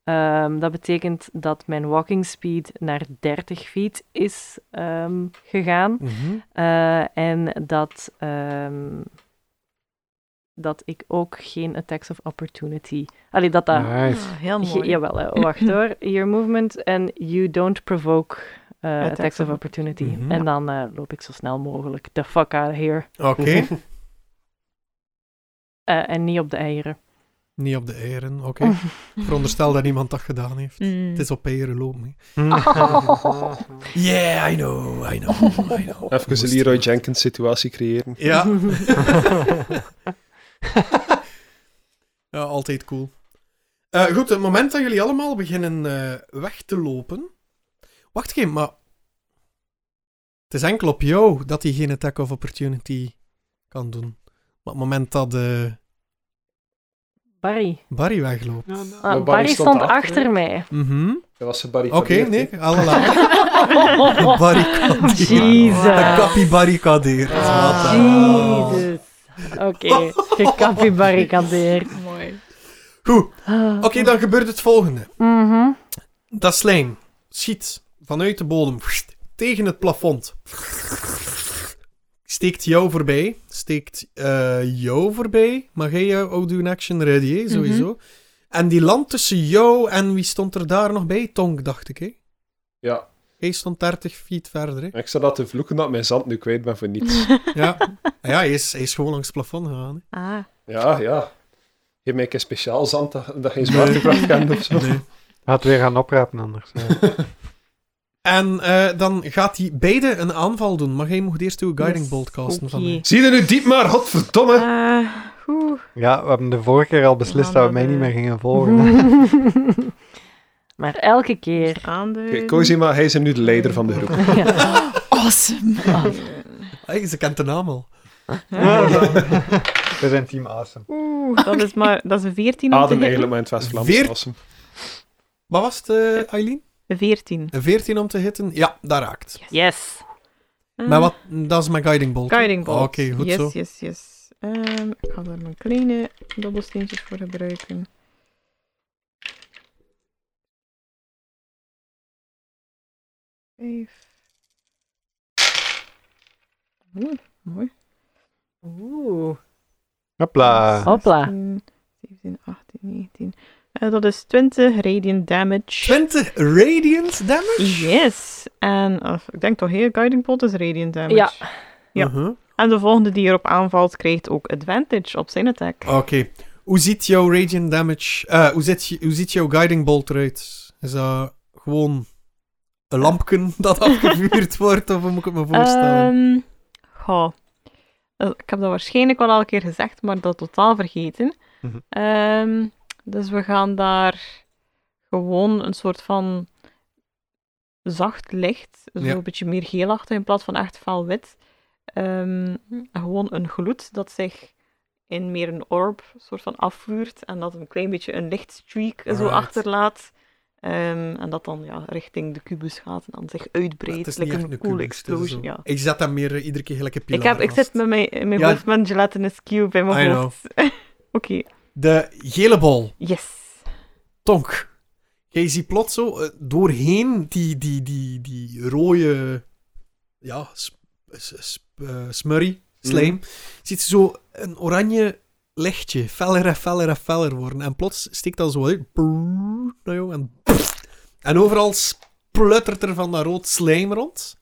Ehm, dat betekent dat mijn walking speed naar 30 feet is ehm, gegaan. Mhm. Eh, en dat, ehm, dat ik ook geen attacks of opportunity... Allee, dat dat... Nice. Ah, heel ge- mooi. jawel, hè, wacht hoor. Your movement and you don't provoke eh, attacks, of opportunity. Mhm. En dan eh, loop ik zo snel mogelijk the fuck out of here. Oké. Eh, en niet op de eieren. Niet op de eieren, oké. Veronderstel dat iemand dat gedaan heeft. Mm. Het is op eieren lopen. hè. Oh. Yeah, I know, I know, I know. Even Moest een Leroy wel. Jenkins situatie creëren. Ja. ja, altijd cool. Eh, goed, het moment dat jullie allemaal beginnen eh, weg te lopen. Wacht even, maar. Het is enkel op jou dat hij geen attack of opportunity kan doen. Maar het moment dat eh, Barry. Barry wegloopt. Ah, Barry Barry, stond stond, achter achter, u. mij. Mhm. Dat was de Barry Oké, nee, allemaal. Barry Jezus. Een capybaricadeer. eh. Ah, Jezus. Oké, gecapibarricadeerd. Mooi. Goed, oké, dan gebeurt het volgende. Mhm. Dat slijm schiet vanuit de bodem tegen het plafond. Steekt jou voorbij. Steekt eh, jou voorbij. Maar jij jou ook doen action ready, hè, sowieso. Mhm. En die landt tussen jou en wie stond er daar nog bij? Tonk, dacht ik. Hè? Ja, Hij stond 30 feet verder. Hè? ik zat dat te vloeken dat mijn zand nu kwijt ben voor niets. Ja, ja hij, is, hij is gewoon langs het plafond gegaan. hè. Ah, Ja, ja. Geef mij een keer speciaal zand dat, dat geen zwaartekracht kan of zo. Had weer gaan oprapen anders. ja. En eh, dan gaat hij beide een aanval doen. Maar jij moet eerst uw guiding Yes, bolt casten van oké. mij. Zie je nu diep maar, Ehm. godverdomme! eh, oeh. Ja, we hebben de vorige keer al beslist dat we mij niet meer gingen volgen. maar elke keer. Aanduiden. Oké, Kozi, maar hij is hem nu de leider van de groep. Awesome. Hey, ze kent de naam al. We zijn team Awesome. Oeh, dat is maar... Dat is een 14 op de Adem hit. Ah, eigenlijk maar in het West-Vlaams. Veert- Awesome. Wat was het, eh, Eileen? Een 14. Een 14 om te hitten? Ja, dat raakt. Yes. Eh, Maar wat, dat is mijn guiding bolt. hè? Ah, Guiding bolt. Oké, goed yes, zo. Yes, yes, Ehm, ik ga daar mijn kleine dobbelsteentjes voor gebruiken. Vijf. Oeh, mooi. Oeh. Hopla. Hopla. 16, 17, 18, 19. Eh, dat is 20 radiant damage. 20 radiant damage? Yes! En of, ik denk toch heel guiding bolt is radiant damage. Ja. Ja. Uh-huh. En de volgende die erop aanvalt krijgt ook advantage op zijn attack. Oké. Hoe ziet jouw radiant damage... eh, hoe, ziet, je- hoe ziet jouw guiding bolt eruit? Is dat gewoon een lampje dat afgevuurd wordt? Of hoe moet ik het me voorstellen? Ehm, goh. Eh, Ik heb dat waarschijnlijk wel al een keer gezegd, maar dat totaal vergeten. Mhm. Ehm, dus we gaan daar gewoon een soort van zacht licht, zo Ja. een beetje meer geelachtig in plaats van echt fel wit. Ehm, gewoon een gloed dat zich in meer een orb soort van afvuurt en dat een klein beetje een lichtstreak zo Right. achterlaat. Ehm, en dat dan ja, richting de kubus gaat en dan zich uitbreidt. het is niet like echt Ehm, een een cool kubus, het is explosion. zo. Ja. Ik zet dat meer eh, iedere keer gelijk een pilaar Ik, heb, ik vast. zit met mijn, in mijn Ja. hoofd met een gelatinous cube in I mijn know. hoofd. Oké, De gele bol. yes. Tonk. Jij ziet plots zo eh, doorheen die, die, die, die rode ja, sp- s- sp- eh, smurrie, slijm, ziet ze zo een oranje lichtje feller en feller en feller worden. En plots steekt dat zo uit. Brrr, naar jou en, en overal spluttert er van dat rood slijm rond.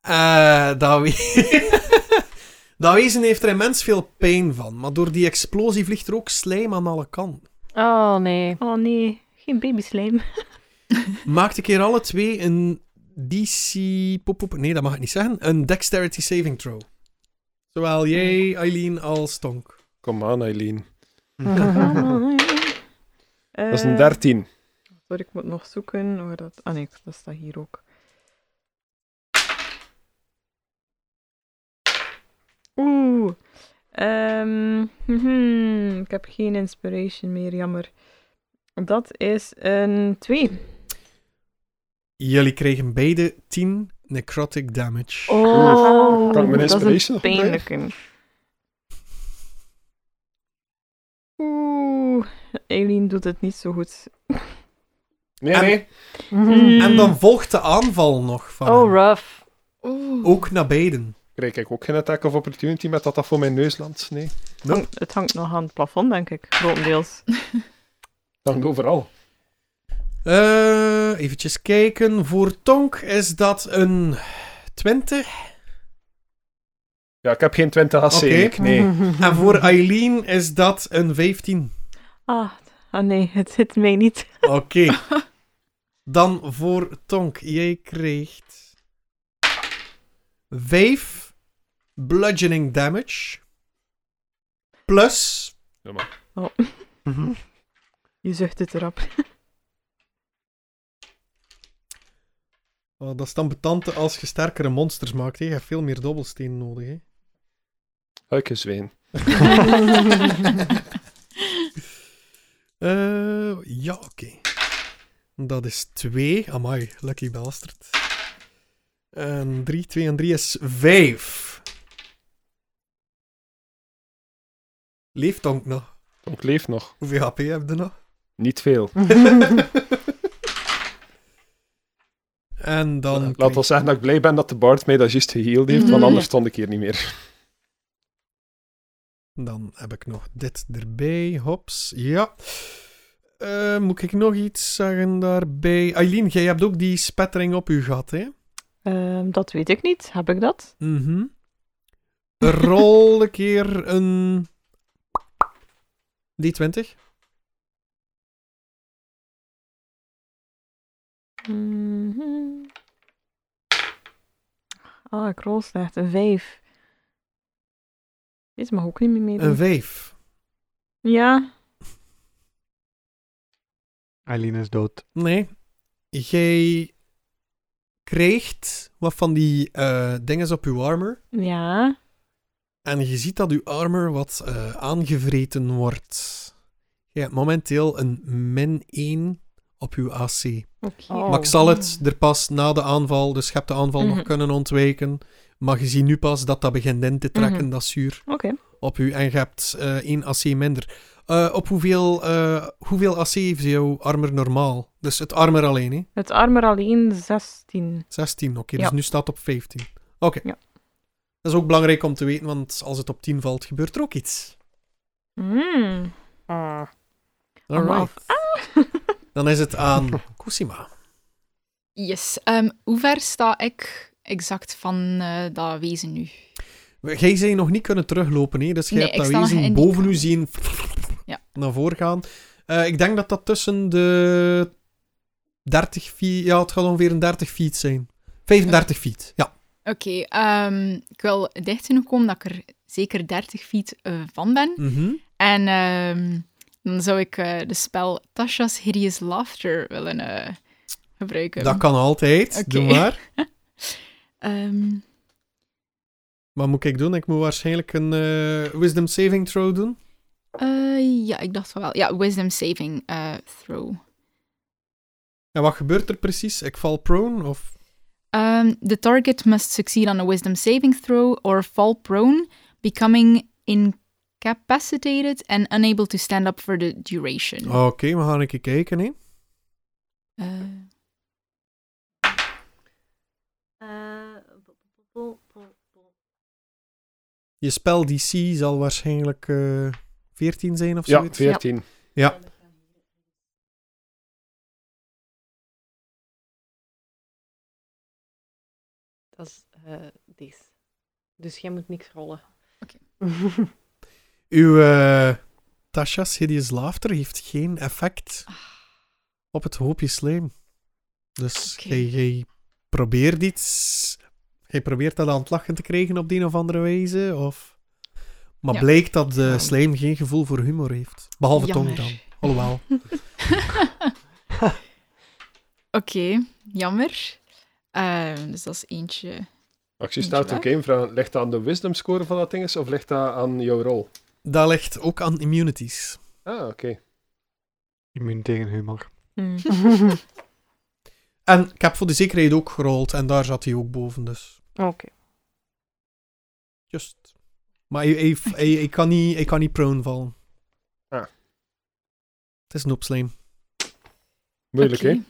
Eh dat, we- dat wezen heeft er immens veel pijn van. Maar door die explosie vliegt er ook slijm aan alle kanten. Oh nee. Oh nee, geen babyslijm. Maakt een keer alle twee een DC... Pop, pop, nee, dat mag ik niet zeggen. Een Dexterity Saving Throw. Zowel jij, Eileen, als Tonk. Kom aan, Eileen. Eh, Dat is een 13. Sorry, ik moet nog zoeken. Waar dat... Ah nee, dat staat hier ook. Oeh. Ehm, mhm, ik heb geen inspiration meer, jammer. Dat is een 2. Jullie kregen beide 10 necrotic damage. Oh, Kan ik mijn dat is inspiration een nog gebruiken? pijnlijke. Oeh, Eileen doet het niet zo goed. Nee, En- nee. Mm-hmm. En dan volgt de aanval nog van Oh, hem. rough. Oeh. Ook naar beiden. Krijg ik ook geen attack of opportunity met dat dat voor mijn neus landt? Nee. Het hangt- het hangt nog aan het plafond, denk ik, grotendeels. Dat hangt overal. Eh eventjes kijken. Voor Tonk is dat een 20. Ja, ik heb geen 20 AC. Oké. Mhm. Ik, nee. En voor Eileen is dat een 15. Ah, ah nee, het zit mij niet. Oké. Dan voor Tonk. Jij krijgt 5 bludgeoning damage. Plus Ja, maar. Je zucht het erop. Oh, dat is dan betante als je sterkere monsters maakt. Hè. Je hebt veel meer dobbelstenen nodig. Hè. Huikenzween. Eh, ja, oké. Dat is 2. Amai, lucky bastard. En 3, 2 en 3 is 5. Leeft Tonk nog? Ik leef nog. Hoeveel HP heb je nog? Niet veel. en dan... Laat ons zeggen dat ik blij ben dat de Bard mij dat juist geheeld heeft, want Mhm. anders stond ik hier niet meer. Dan heb ik nog dit erbij. Hops. Ja. Eh, moet ik nog iets zeggen daarbij? Eileen, jij hebt ook die spettering op u gehad, hè? Ehm, dat weet ik niet. Heb ik dat? Mhm. Rol een keer een... D20. Mhm. Ah, ik rol slecht. Een vijf. Dit mag ook niet meer meedoen. Een 5. ja, Eileen is dood. Nee. Jij krijgt wat van die eh dingen op uw armor. ja. En je ziet dat uw armor wat eh, aangevreten wordt. Je hebt momenteel een min 1 op uw AC. Oké. Oh. Maar ik zal het er pas na de aanval, dus je hebt de aanval nog Mhm. kunnen ontwijken. Maar je ziet nu pas dat dat begint in te trekken, Mhm. dat zuur Oké. op u. En je hebt eh 1 AC minder. Eh, op hoeveel, eh, hoeveel AC heeft jouw armor normaal? Dus het armor alleen, hè? Het armor alleen 16. 16, oké. Ja. Dus nu staat het op 15. Oké. Ja. Dat is ook belangrijk om te weten, want als het op 10 valt, gebeurt er ook iets. Mm. Ah. Allemaal. Alright. Ah. Dan is het aan Cosima. Yes. Ehm, hoe ver sta ik exact van eh, dat wezen nu? Jij zei nog niet kunnen teruglopen, hè? dus jij Nee, hebt ik dat sta nog wezen in die boven u kamer. zien Ja. naar voren gaan. Eh, ik denk dat dat tussen de 30 feet, ja, het gaat ongeveer een 30 feet zijn. 35 feet, ja. Oké, ehm, ik wil dicht genoeg komen dat ik er zeker 30 feet eh, van ben. Mhm. En ehm, dan zou ik eh, de spel Tasha's Hideous Laughter willen eh, gebruiken. Dat kan altijd, Oké. doe maar. Ehm, Wat moet ik doen? Ik moet waarschijnlijk een eh, wisdom saving throw doen. eh, ja, ik dacht van wel. Ja, Wisdom Saving eh, Throw. En wat gebeurt er precies? Ik val prone of... Um, the target must succeed on a wisdom saving throw or fall prone, becoming incapacitated and unable to stand up for the duration. Ah, Oké, we gaan een keer kijken, hè. Uh, Eh, Je spel DC zal waarschijnlijk eh 14 zijn of Ja, zoiets. 14. Dat is eh deze. Dus jij moet niks rollen. Oké. Uw eh, Tasha's Hideous Laughter heeft geen effect Ah. op het hoopje slijm. Dus Oké. jij, jij probeert iets. Jij probeert dat aan het lachen te krijgen op de een of andere wijze. Of... Maar Ja. blijkt dat de Ja. slijm geen gevoel voor humor heeft. Behalve tong Jammer. dan. Alhoewel. Oké, jammer. Ehm, dus dat is eentje. Actie staat ook Dankjewel. één vraag. Ligt dat aan de wisdom score van dat ding is, of ligt dat aan jouw rol? Dat ligt ook aan immunities. Ah, oké. Immuun tegen humor. Mm. En ik heb voor de zekerheid ook gerold en daar zat hij ook boven, dus... Oké. Just. Maar hij, hij, hij, hij kan, niet, hij kan niet prone vallen. Ah. Het is een opslijm. Moeilijk, Oké. hè?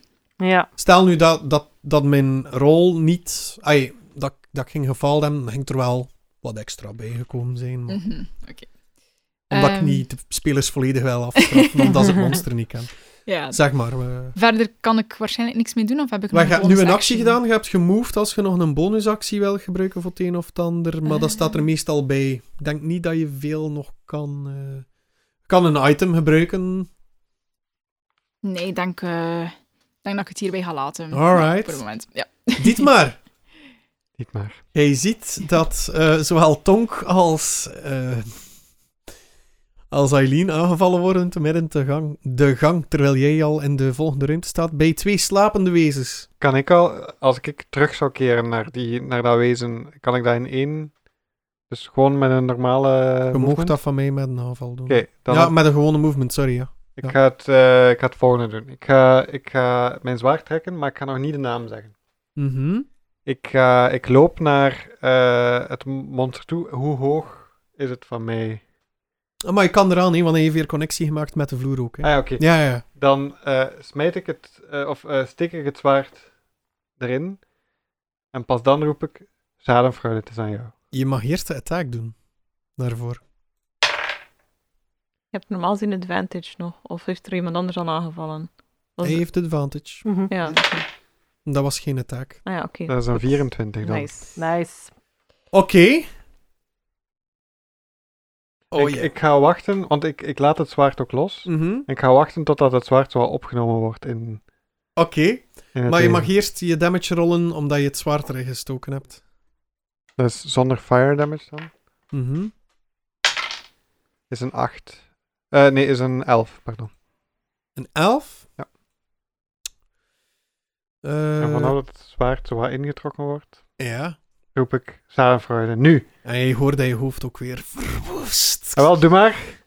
Ja, Stel nu dat, dat, dat mijn rol niet... Ai, dat, dat ik ging gefaald hebben, dan ging er wel wat extra bijgekomen zijn. Maar, Mhm, Oké. Omdat ik Ehm. niet de spelers volledig wel afstraf, omdat ze het monster niet kennen. Ja. Zeg maar. eh, we- Verder kan ik waarschijnlijk niks mee doen, of heb ik Maar nog je hebt nu bonus een actie gedaan, je hebt gemoved als je nog een bonusactie wil gebruiken voor het een of het ander, maar dat Eh. staat er meestal bij. Ik denk niet dat je veel nog kan... eh, Je kan een item Mm. gebruiken. Nee, ik denk, eh, ik denk dat ik het hierbij ga laten. Alright. Voor het moment, ja. Dit maar. Niet maar. Jij ziet dat eh, zowel Tonk als, eh, als Eileen aangevallen worden te midden de gang, de gang, terwijl jij al in de volgende ruimte staat, bij twee slapende wezens. Kan ik al, als ik terug zou keren naar, die, naar dat wezen, kan ik dat in één? Dus gewoon met een normale. Je mocht Eh, movement? dat van mij met een aanval doen. Oké, dan ja, heb- met een gewone movement, sorry. Ja. ik, ja. Ga het, eh, ik ga het volgende doen. Ik ga, ik ga mijn zwaard trekken, maar ik ga nog niet de naam zeggen. Mhm. Ik, ga- ik loop naar eh, het monster toe. Hoe hoog is het van mij? Ah, Maar je kan eraan, hè, want hij heeft weer connectie gemaakt met de vloer ook. Hè. Ah ja, oké. Ja, ja. Dan eh, smijt ik het, eh, of eh steek ik het zwaard erin. En pas dan roep ik, Zadenfreude, het is aan jou. Je mag eerst de attack doen. Daarvoor. Je hebt normaal gezien advantage nog. Of heeft er iemand anders al aangevallen? Was- Hij heeft advantage. Mhm. Ja, dat is niet. Dat was geen attack. Ah ja, oké. Dat is een Goed. 24 dan. Nice. nice. Oké. Ik, Oh ja. ik ga wachten, want ik, ik laat het zwaard ook los. Mhm. Ik ga wachten totdat het zwaard zo wat opgenomen wordt in, Oké, in het maar je leven. mag eerst je damage rollen omdat je het zwaard erin gestoken hebt. Dus zonder fire damage dan? Mhm. Is een 8. Eh, nee, is een 11, pardon. Een 11? Ja. Eh, En vanaf dat het zwaard zo wat ingetrokken wordt, ja. roep ik Zadenfreude, nu! En je hoort dat je hoofd ook weer verwoest. Ah, wel, doe maar!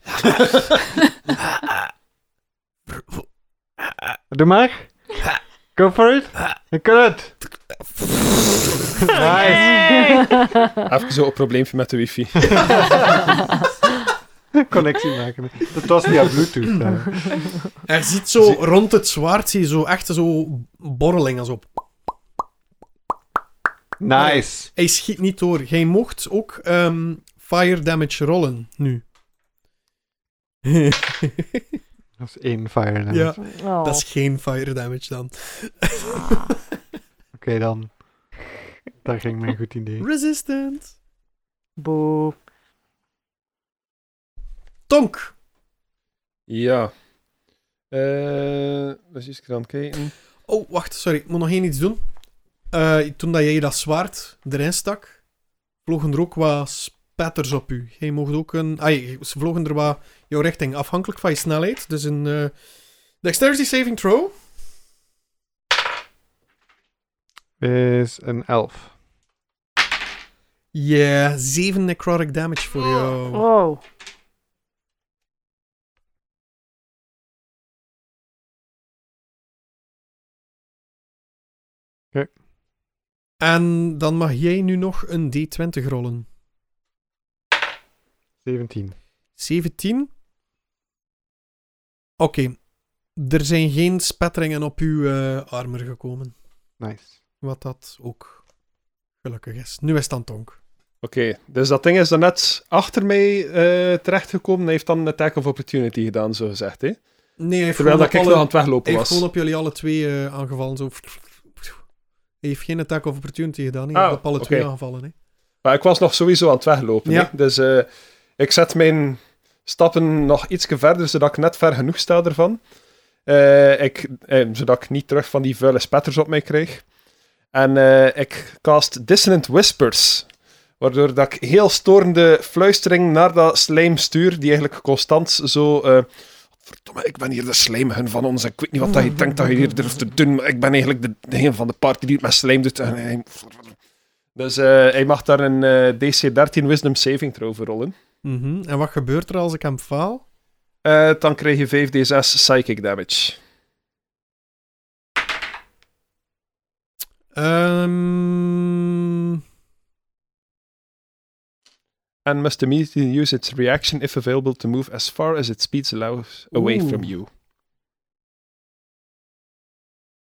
Doe maar! Go for it! Je kunt het! Nice! Even zo een probleempje met de wifi. Connectie maken. Dat was via Bluetooth. hè. Er ziet zo rond het zwaard, zie je zo echt zo borrelingen. Zo. Nice! Hij schiet niet door. Jij mocht ook ehm, fire damage rollen nu. Dat is één fire damage. ja, Oké Oh. dat is geen fire damage dan. dan. Daar ging mijn goed idee. Resistant. Boe. Tonk. ja. Eh dus is ik dan kijken. Oh, wacht, sorry. Ik moet nog één iets doen. Eh, toen dat jij dat zwaard erin stak, vlogen er ook wat spetters op u. Jij mocht ook een... Ai, ze vlogen er wat jouw richting, afhankelijk van je snelheid. Dus een eh, dexterity saving throw. Is een 11. Yeah, 7 necrotic damage voor jou. Wow. En dan mag jij nu nog een d20 rollen. 17. 17. Oké. Er zijn geen spetteringen op uw eh, armor gekomen. Nice. Wat dat ook gelukkig is. Nu is het aan Tonk. Oké, dus dat ding is daarnet achter mij eh, terechtgekomen en heeft dan een attack of opportunity gedaan, zo gezegd. Hè? Nee, hij heeft Terwijl gewoon dat ik nog op alle- aan het weglopen hij heeft was. gewoon op jullie alle twee eh, aangevallen. Zo. Hij heeft geen attack of opportunity gedaan. Hij Ah, heeft op alle twee oké. aangevallen. Hè. Maar ik was nog sowieso aan het weglopen. Ja. hè. Dus eh, ik zet mijn stappen nog iets verder, zodat ik net ver genoeg sta ervan. Eh, ik, eh, zodat ik niet terug van die vuile spetters op mij kreeg. En eh, ik cast Dissonant Whispers. Waardoor dat ik heel storende fluistering naar dat slijm stuur, die eigenlijk constant zo... eh, Verdomme, ik ben hier de slijmhun van ons. Ik weet niet wat dat je denkt dat je hier durft te doen, maar ik ben eigenlijk de, degene van de party die het met slijm doet. En hij- dus eh, hij mag daar een eh, DC-13 Wisdom Saving Throw voor rollen. Mhm. En wat gebeurt er als ik hem faal? Eh, dan krijg je 5d6 Psychic Damage. Ehm, And must immediately use its reaction if available to move as far as its speed allows away Oeh. from you.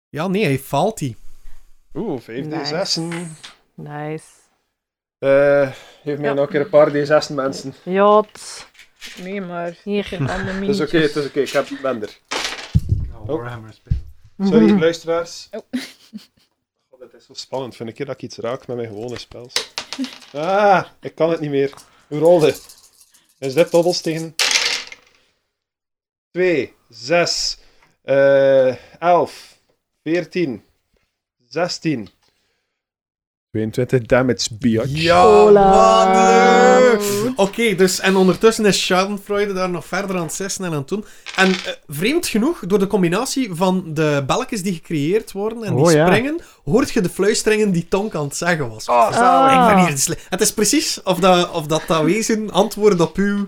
ja, nee, hij faalt die. Oeh, 5 Nice. Nice. Eh, geef mij Ja. nog een keer een paar D6 mensen. Jot. Nee, maar Hier. geen andere Het is miniatjes. oké, het is oké, ik heb het bender. Nou, Oh. Warhammer spelen. Sorry, luisteraars. Oh. God, dat is zo spannend. Vind ik keer dat ik iets raak met mijn gewone spels. Ah, ik kan het niet meer. Hoe rolde? Is dit dobbels tegen? 2, 6, eh, 11, 14, 16. 22 damage, biatch. Ja, Hola. man, eh. Oké, dus en ondertussen is Schadenfreude daar nog verder aan het sissen en aan het doen. En eh, vreemd genoeg, door de combinatie van de belletjes die gecreëerd worden en die Oh, ja. springen, hoort je de fluisteringen die Tonk aan het zeggen was. Oh, zalig. Ik ben hier de sle- Het is precies of dat, of dat, dat wezen antwoord op uw,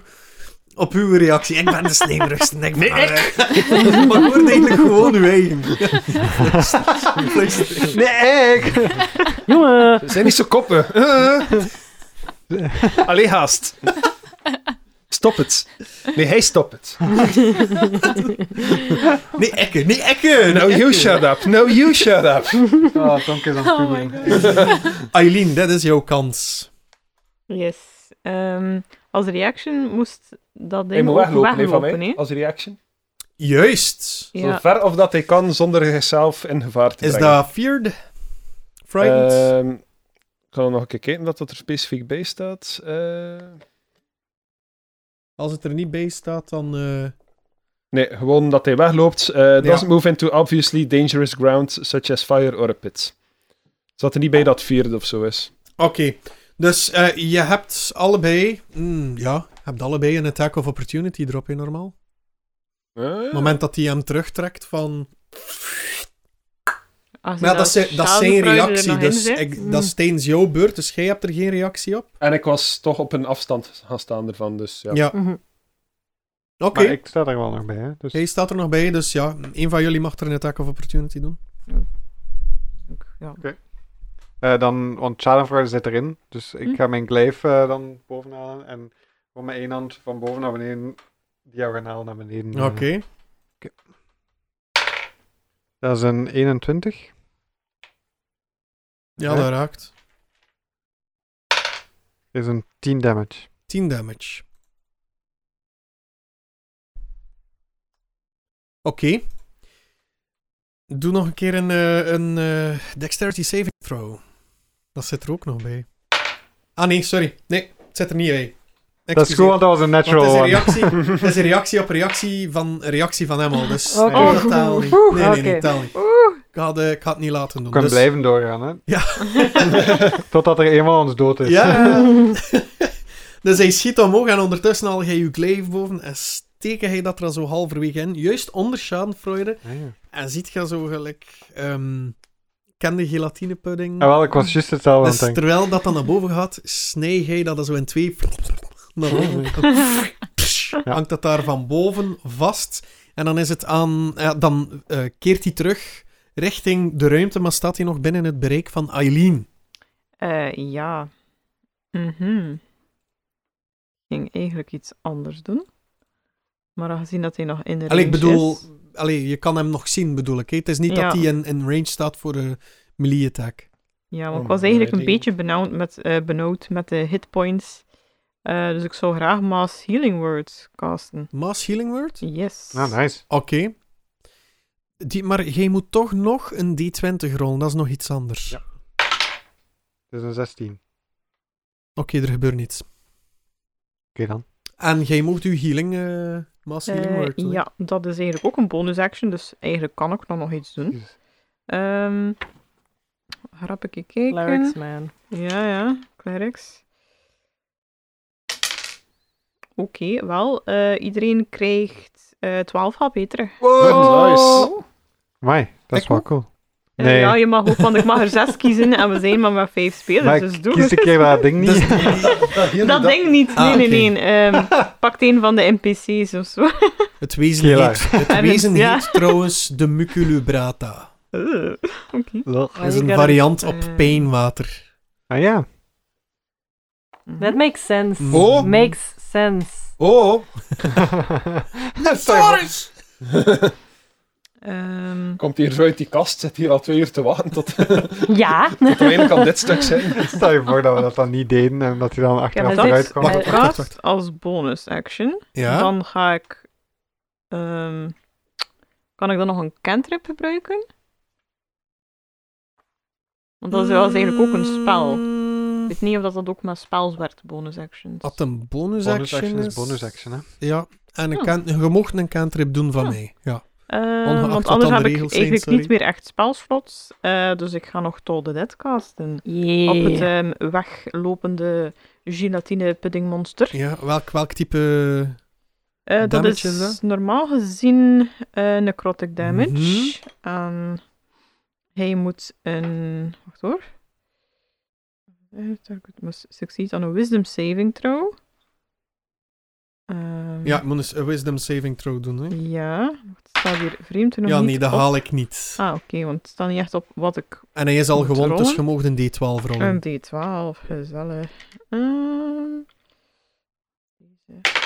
op uw reactie. Ik ben de slimmerste. Ik ben maar, maar hoort eigenlijk gewoon uw eigen. Fluisteringen. Nee, ik! Jongen. Zijn niet zo koppen. Eh. Allee, haast. Stop het. Nee, hij stopt het. Nee, Ekke. Nee, Nou, Ekke. No, you shut up. No, you shut up. Ah, Tonk is aan het Oh my googlen. Eileen, dat is jouw kans. Yes. Ehm, als reaction moest dat ding Hij moet ook weglopen, hè, van weglopen, mij, hè. als reaction. Juist. Ja. Zo ver of dat hij kan zonder zichzelf in gevaar te Is brengen. dat feared? Frightened? Ehm, ik ga nog een keer kijken dat dat er specifiek bij staat. Eh, Als het er niet bij staat, dan... eh, nee, gewoon dat hij wegloopt. Eh Doesn't move into obviously dangerous ground such as fire or a pit. Zat er niet bij dat vierde of zo is. Oké. Dus eh, je hebt allebei... Mm, ja, je hebt allebei een attack of opportunity erop, hè, normaal. Op Eh, Hmm. het moment dat hij hem terugtrekt van... Als je Maar ja, dat, is, dat is zijn schadenfreude er reactie, nog in dus zet. ik, Mm. dat is tijdens jouw beurt, dus jij hebt er geen reactie op? Eh, En ik was toch op een afstand gaan staan ervan, dus ja. Ja. Mhm. Oké. Maar ik sta er wel nog bij, hè. Dus... Hij staat er nog bij, dus ja, een van jullie mag er een attack of opportunity doen. Ja. Eh, dan, want Schadenfreude zit erin, dus ik Hm. ga mijn glaive eh, dan bovenhalen en gewoon mijn één hand van boven naar beneden, diagonaal naar beneden. eh. Oké. Dat is een 21. Ja, Oké. dat raakt. Is een 10 damage. 10 damage. Oké. Doe nog een keer een, eh, een eh, dexterity saving throw. Dat zit er ook nog bij. Ah nee, sorry. Nee, het zit er niet bij. Dat is goed, want dat was een natural Want het is one. een reactie, het is een reactie op reactie van reactie van hem al. Dus Oké. nee, dat taal niet. Oh, Oeh, Nee, nee, nee, oké. taal niet. Ik had, eh, ik had het niet laten doen. We kunnen dus- blijven doorgaan, hè. Ja. Totdat er eenmaal ons dood is. Ja. dus hij schiet omhoog en ondertussen al hij je glaive boven en steken hij dat er zo halverwege in. Juist onder schadenfreude. Ah, ja. En ziet je zo gelijk... ehm kende gelatinepudding. Ah, wel, ik was juist hetzelfde dus aan het denken. terwijl dat dan naar boven gaat, snij hij dat dan zo in twee... Naar boven. Hangt dat daar van boven vast. En dan is het aan... ja, dan eh, keert hij terug richting de ruimte, maar staat hij nog binnen het bereik van Eileen. Eh, ja. Mhm. Ik ging eigenlijk iets anders doen. Maar aangezien dat hij nog in de Allee, ik range bedoel, is- allee, je kan hem nog zien, bedoel ik. hè. Het is niet Ja. dat hij in, in range staat voor een melee attack. Ja, want Oh, ik was maar eigenlijk wij dingen. een beetje benauwd met, eh, benauwd met de hitpoints. Eh, dus ik zou graag Mass Healing Words casten. Mass Healing Word? Yes. Ah, nice. Oké. Die, Maar jij moet toch nog een D20 rollen, dat is nog iets anders. Ja. Dat is een 16. Oké Oké, er gebeurt niets. dan. En jij mocht uw healing, eh Mass Eh, Healing Word. doen. ja, dat is eigenlijk ook een bonus action, dus eigenlijk kan ik dan nog iets doen. Jezus. Ehm grappig kijken. Lyrics, man. Ja, ja, clerics. Oké, wel. eh, iedereen krijgt eh 12 HP terug. Nice. Oh. Amai, dat is Ik wel ook. cool. Eh, Nee. ja, je mag ook, want ik mag er 6 kiezen en we zijn maar met 5 spelers, Maar dus ik doe kies een het. keer dat ding Dus- niet. hier, Dat ding niet. Ah, Nee, nee, oké. nee. Ehm, pakt een van de NPC's of zo. Het wezen, Kela. heet, het Ergens, wezen ja. heet trouwens de Muculubrata. Eh, Oké. Ugh. Maar is je een kan- variant op eh, pijnwater. Ah ja. mhm. That makes sense. Oh. Makes sense. Oh, Sorry. Ehm, komt hier zo uit die kast, zit hier al twee uur te wachten tot Ja. weinig kan dit stuk zijn. Stel je voor dat we dat dan niet deden en dat hij dan Ik heb achteraf het eruit kwam. Wacht, wacht, wacht, wacht. als bonus action. Ja? Dan ga ik... ehm, kan ik dan nog een cantrip gebruiken? Want dat is wel eens eigenlijk ook een spel. Ik weet niet of dat, dat ook met spels werd, bonus actions. Mm. Wat een bonus, Bonus action action is bonus action, hè. Ah. Ja, en een Ja. can- je mocht een cantrip doen van Oh. Ja. mij. Ja. Eh, Ongeacht wat want dan anders de heb ik regels zijn, eigenlijk sorry. niet meer echt spelslots. eh, dus ik ga nog Toll the Dead casten. Yeah. Op het ehm, weglopende gelatine puddingmonster. ja welk, welk type... Eh, dat is Damage is dat? normaal gezien eh necrotic damage. Mhm. En hij moet een... Wacht hoor. Eh, Target must succeed on a wisdom saving throw. Ehm, Ja, ik moet eens een wisdom saving throw doen. Hè? Ja, het staat hier vreemd nog Ja, niet nee, dat op. haal ik niet. Ah, oké, want het staat niet echt op wat ik En hij is al Moet gewond, dus rollen? je mocht een D12 rollen. Een D12, gezellig. Ehm, deze.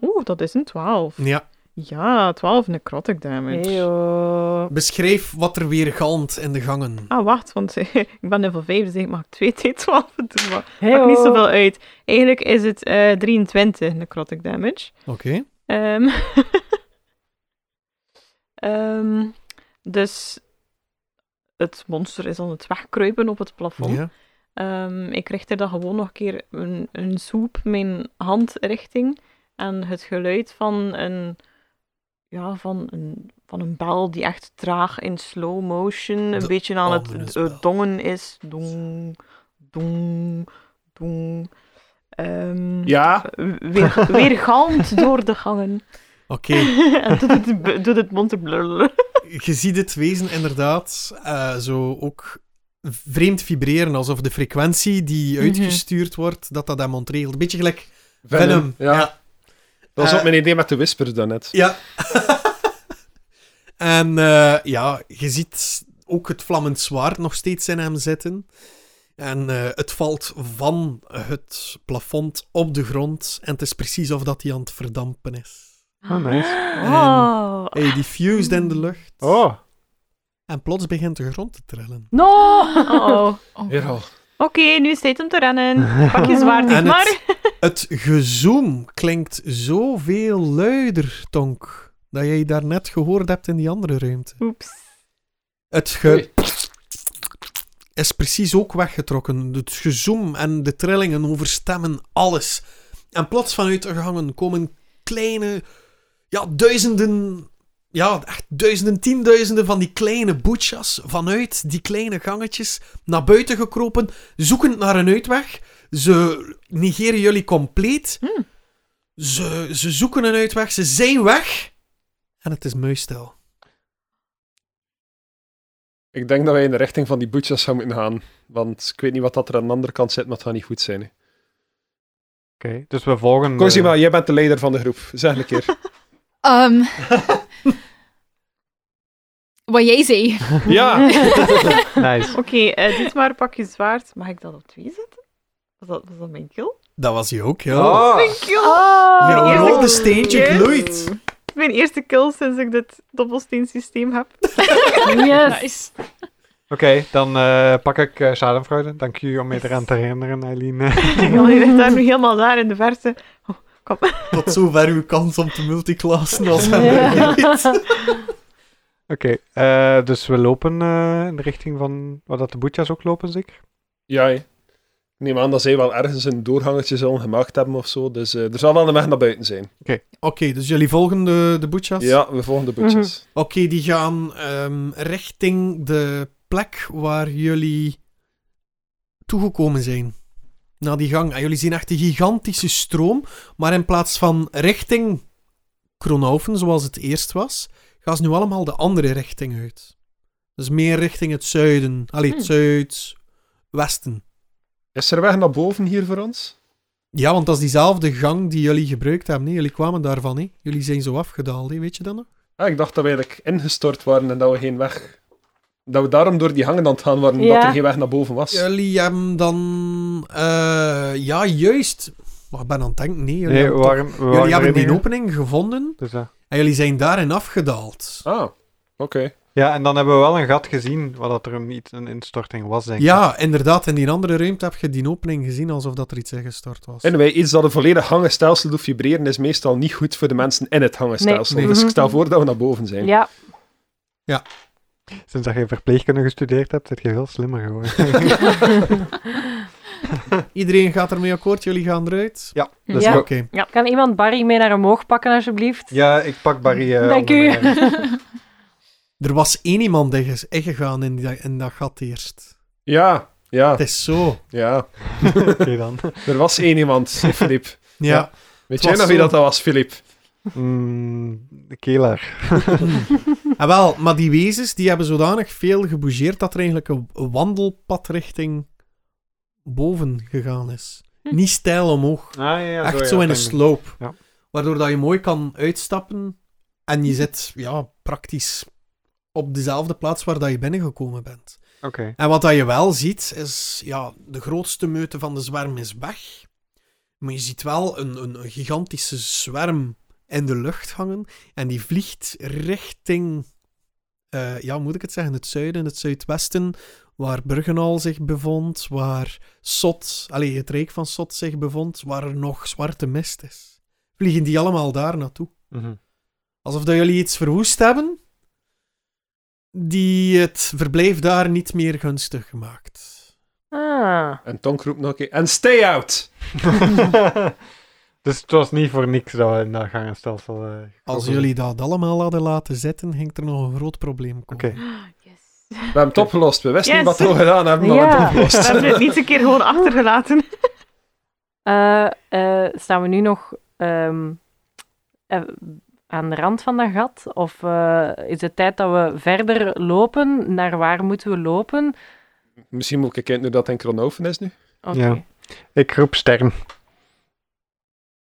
Oeh, dat is een 12. Ja. Ja, 12 necrotic damage. Heyo. Beschrijf wat er weer galmt in de gangen. Ah, wacht, want ik ben level 5, dus ik mag 2 D12 doen. Maar Heyo. maakt niet zoveel uit. Eigenlijk is het eh 23 necrotic damage. Oké. Ehm, ehm, dus het monster is aan het wegkruipen op het plafond. Ja. Ehm, ik richt er dan gewoon nog een keer een, een soep, mijn hand richting. En het geluid van een, ja, van een, van een bel die echt traag in slow motion een De beetje aan het Alderensbel. eh, dongen is. Dong, dong, dong. Ehm, Ja, weer, weer galmt door de gangen. Oké, en doet het, b- doet het monster blurlen. je ziet het wezen inderdaad eh, zo ook vreemd vibreren, alsof de frequentie die Mhm. uitgestuurd wordt, dat dat hem ontregelt. Beetje gelijk Venom. Ja. Dat was Eh, ook mijn idee met de whisper daarnet. Ja. en eh, ja, je ziet ook het vlammend zwaard nog steeds in hem zitten. En eh, het valt van het plafond op de grond. En het is precies of dat hij aan het verdampen is. Oh, nice. Ehm. Oh. Hij diffused in de lucht. Oh, En plots begint de grond te trillen. No! Oh. Oh. Hero. Oké, nu is het tijd om te rennen. Pak je zwaard niet En maar. het, het gezoem klinkt zoveel luider, Tonk, dat jij daarnet gehoord hebt in die andere ruimte. Oeps. Het ge... is precies ook weggetrokken. Het gezoem en de trillingen overstemmen alles. En plots vanuit de gangen komen kleine, ja, duizenden, ja, echt duizenden, tienduizenden van die kleine boetjas vanuit die kleine gangetjes naar buiten gekropen, zoekend naar een uitweg. Ze negeren jullie compleet. Hmm. Ze, ze zoeken een uitweg, ze zijn weg. En het is muisstil. Ik denk dat wij in de richting van die butchers gaan moeten gaan. Want ik weet niet wat dat er aan de andere kant zit, maar het gaat niet goed zijn. hè. oké. Dus we volgen... de- Cosima, jij bent de leider van de groep. Zeg een keer. Ehm, wat jij zei. ja! Nice. Oké, eh, dit maar pak je zwaard. Mag ik dat op twee zetten? Was dat, was dat mijn kill? Dat was hij ook, ja. Oh. Mijn kill! Ah. Oh. Mijn Mijn eerste- rode steentje Yes. gloeit. Mijn eerste kill sinds ik dit dobbelsteensysteem heb. Yes. Nice. Oké, dan eh, pak ik eh schadenfraude. Dank jullie om me eraan te herinneren, Eileen. Je ligt daar nu helemaal daar in de verte. Tot zover uw kans om te multiclassen als hem Ja. weet. Oké, eh, dus we lopen eh, in de richting van waar dat de boetjas ook lopen, zeker? Ja, hè. Ik neem aan dat zij wel ergens een doorgangetje zullen gemaakt hebben of zo. Dus eh, er zal wel een weg naar buiten zijn. Oké, dus jullie volgen de, de boetjas? Ja, we volgen de butchers. Oké, die gaan ehm, richting de plek waar jullie toegekomen zijn. Na die gang. En jullie zien echt die gigantische stroom. Maar in plaats van richting Kronhoven, zoals het eerst was, gaan ze nu allemaal de andere richting uit. Dus meer richting het zuiden. Allee, het Hmm. zuidwesten. Is er weg naar boven hier voor ons? Ja, want dat is diezelfde gang die jullie gebruikt hebben. hè. Jullie kwamen daarvan. hè. Jullie zijn zo afgedaald, hè. weet je dat nog? Ah, ik dacht dat we eigenlijk ingestort waren en dat we geen weg Dat we daarom door die hangen aan het gaan waren, Ja. dat er geen weg naar boven was. Jullie hebben dan... eh, ja, juist. Maar ik ben aan het denken, nee. Jullie Nee, we hebben, toch- waren, we waren jullie hebben die erin, opening gevonden Dus, eh, en jullie zijn daarin afgedaald. Ah, oké. ja, en dan hebben we wel een gat gezien, waar dat er een, iets, een instorting was, denk ik. Ja, inderdaad. In die andere ruimte heb je die opening gezien alsof dat er iets ingestort was. Anyway, iets dat een volledig hangenstelsel doet vibreren is meestal niet goed voor de mensen in het hangenstelsel. Nee. Dus ik stel Mhm. voor dat we naar boven zijn. Ja, Sinds dat je verpleegkunde gestudeerd hebt, zit je veel slimmer geworden. Iedereen gaat ermee akkoord, jullie gaan eruit. Let's Ja. go. Oké. kan iemand Barry mee naar omhoog pakken, alsjeblieft? Ja, ik pak Barry. eh, Dank onder u. mijn arm. Er was één iemand inge- ingegaan in, die, in dat gat eerst. ja, ja. Het is zo. ja. Oké dan. Er was één iemand, Filip. Ja. Weet Het jij was nog wie zo. dat was, Filip? Mm, de kelaar. En Ah, wel, maar die wezens die hebben zodanig veel gebougeerd dat er eigenlijk een een wandelpad richting boven gegaan is. Niet steil omhoog. Ah, ja, ja, Echt ja, zo in een dank u. sloop. Ja. Waardoor dat je mooi kan uitstappen en je zit ja, praktisch op dezelfde plaats waar dat je binnengekomen bent. Oké. En wat dat je wel ziet, is ja, de grootste meute van de zwerm is weg. Maar je ziet wel een, een, een gigantische zwerm in de lucht hangen. En die vliegt richting, eh, ja, hoe moet ik het zeggen, het zuiden, het zuidwesten. Waar Bruggenal zich bevond, waar Sot, allee, het rijk van Sot zich bevond, waar er nog zwarte mist is. Vliegen die allemaal daar naartoe. Mhm. Alsof dat jullie iets verwoest hebben die het verblijf daar niet meer gunstig gemaakt. Ah, En Tonk roept nog een keer, en stay out! dus het was niet voor niks dat we in dat gangenstelsel... eh, Als gekomen jullie dat allemaal hadden laten zitten, ging er nog een groot probleem komen. Oké. Yes. We hebben het opgelost. We wisten Yes. niet wat we gedaan hebben, maar we hebben Ja. het opgelost. We hebben het niet een keer gewoon achtergelaten. eh, eh, staan we nu nog ehm, eh, aan de rand van dat gat? Of eh, is het tijd dat we verder lopen? Naar waar moeten we lopen? Misschien moet ik kijken nu dat het in Kronoven is nu. Oké. Ja. Ik roep Stern.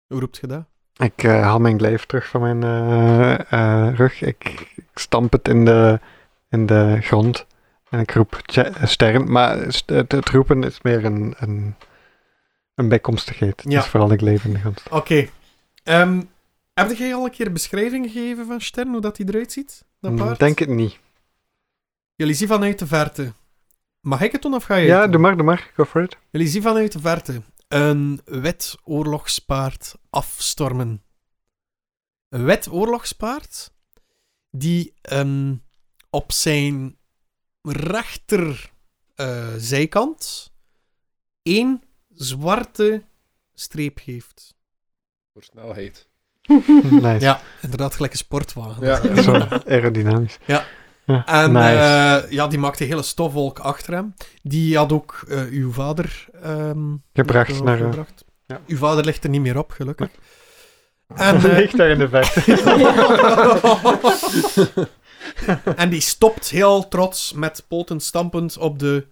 Hoe roept je dat? Ik eh, haal mijn glijf terug van mijn eh, eh, rug. Ik, ik stamp het in de, in de grond. En ik roep tje- eh, Stern. Maar st- het, het roepen is meer een, een, een bijkomstigheid. Het Ja. is vooral de glijf in de grond. Oké. Ehm, heb jij al een keer een beschrijving gegeven van Stern, hoe dat hij eruit ziet? Dat Mm, paard? Denk het niet. Jullie zien vanuit de verte. Mag ik het doen of ga Ah, je? Ja, het doe doen? maar, doe maar. Go for it. Jullie zien vanuit de verte een wet oorlogspaard afstormen. Een wet oorlogspaard die ehm, op zijn rechter eh, zijkant één zwarte streep heeft. Voor snelheid. Nice. Ja, inderdaad, gelijk een sportwagen. Ja. Zo, aerodynamisch. Ja. Ja, En nice. eh, ja, die maakte een hele stofwolk achter hem. Die had ook eh, uw vader ehm, Gebracht nog naar, eh, gebracht. ja. Uw vader ligt er niet meer op, gelukkig. En, eh, Ligt daar in de verte. en die stopt heel trots met poten stampend op de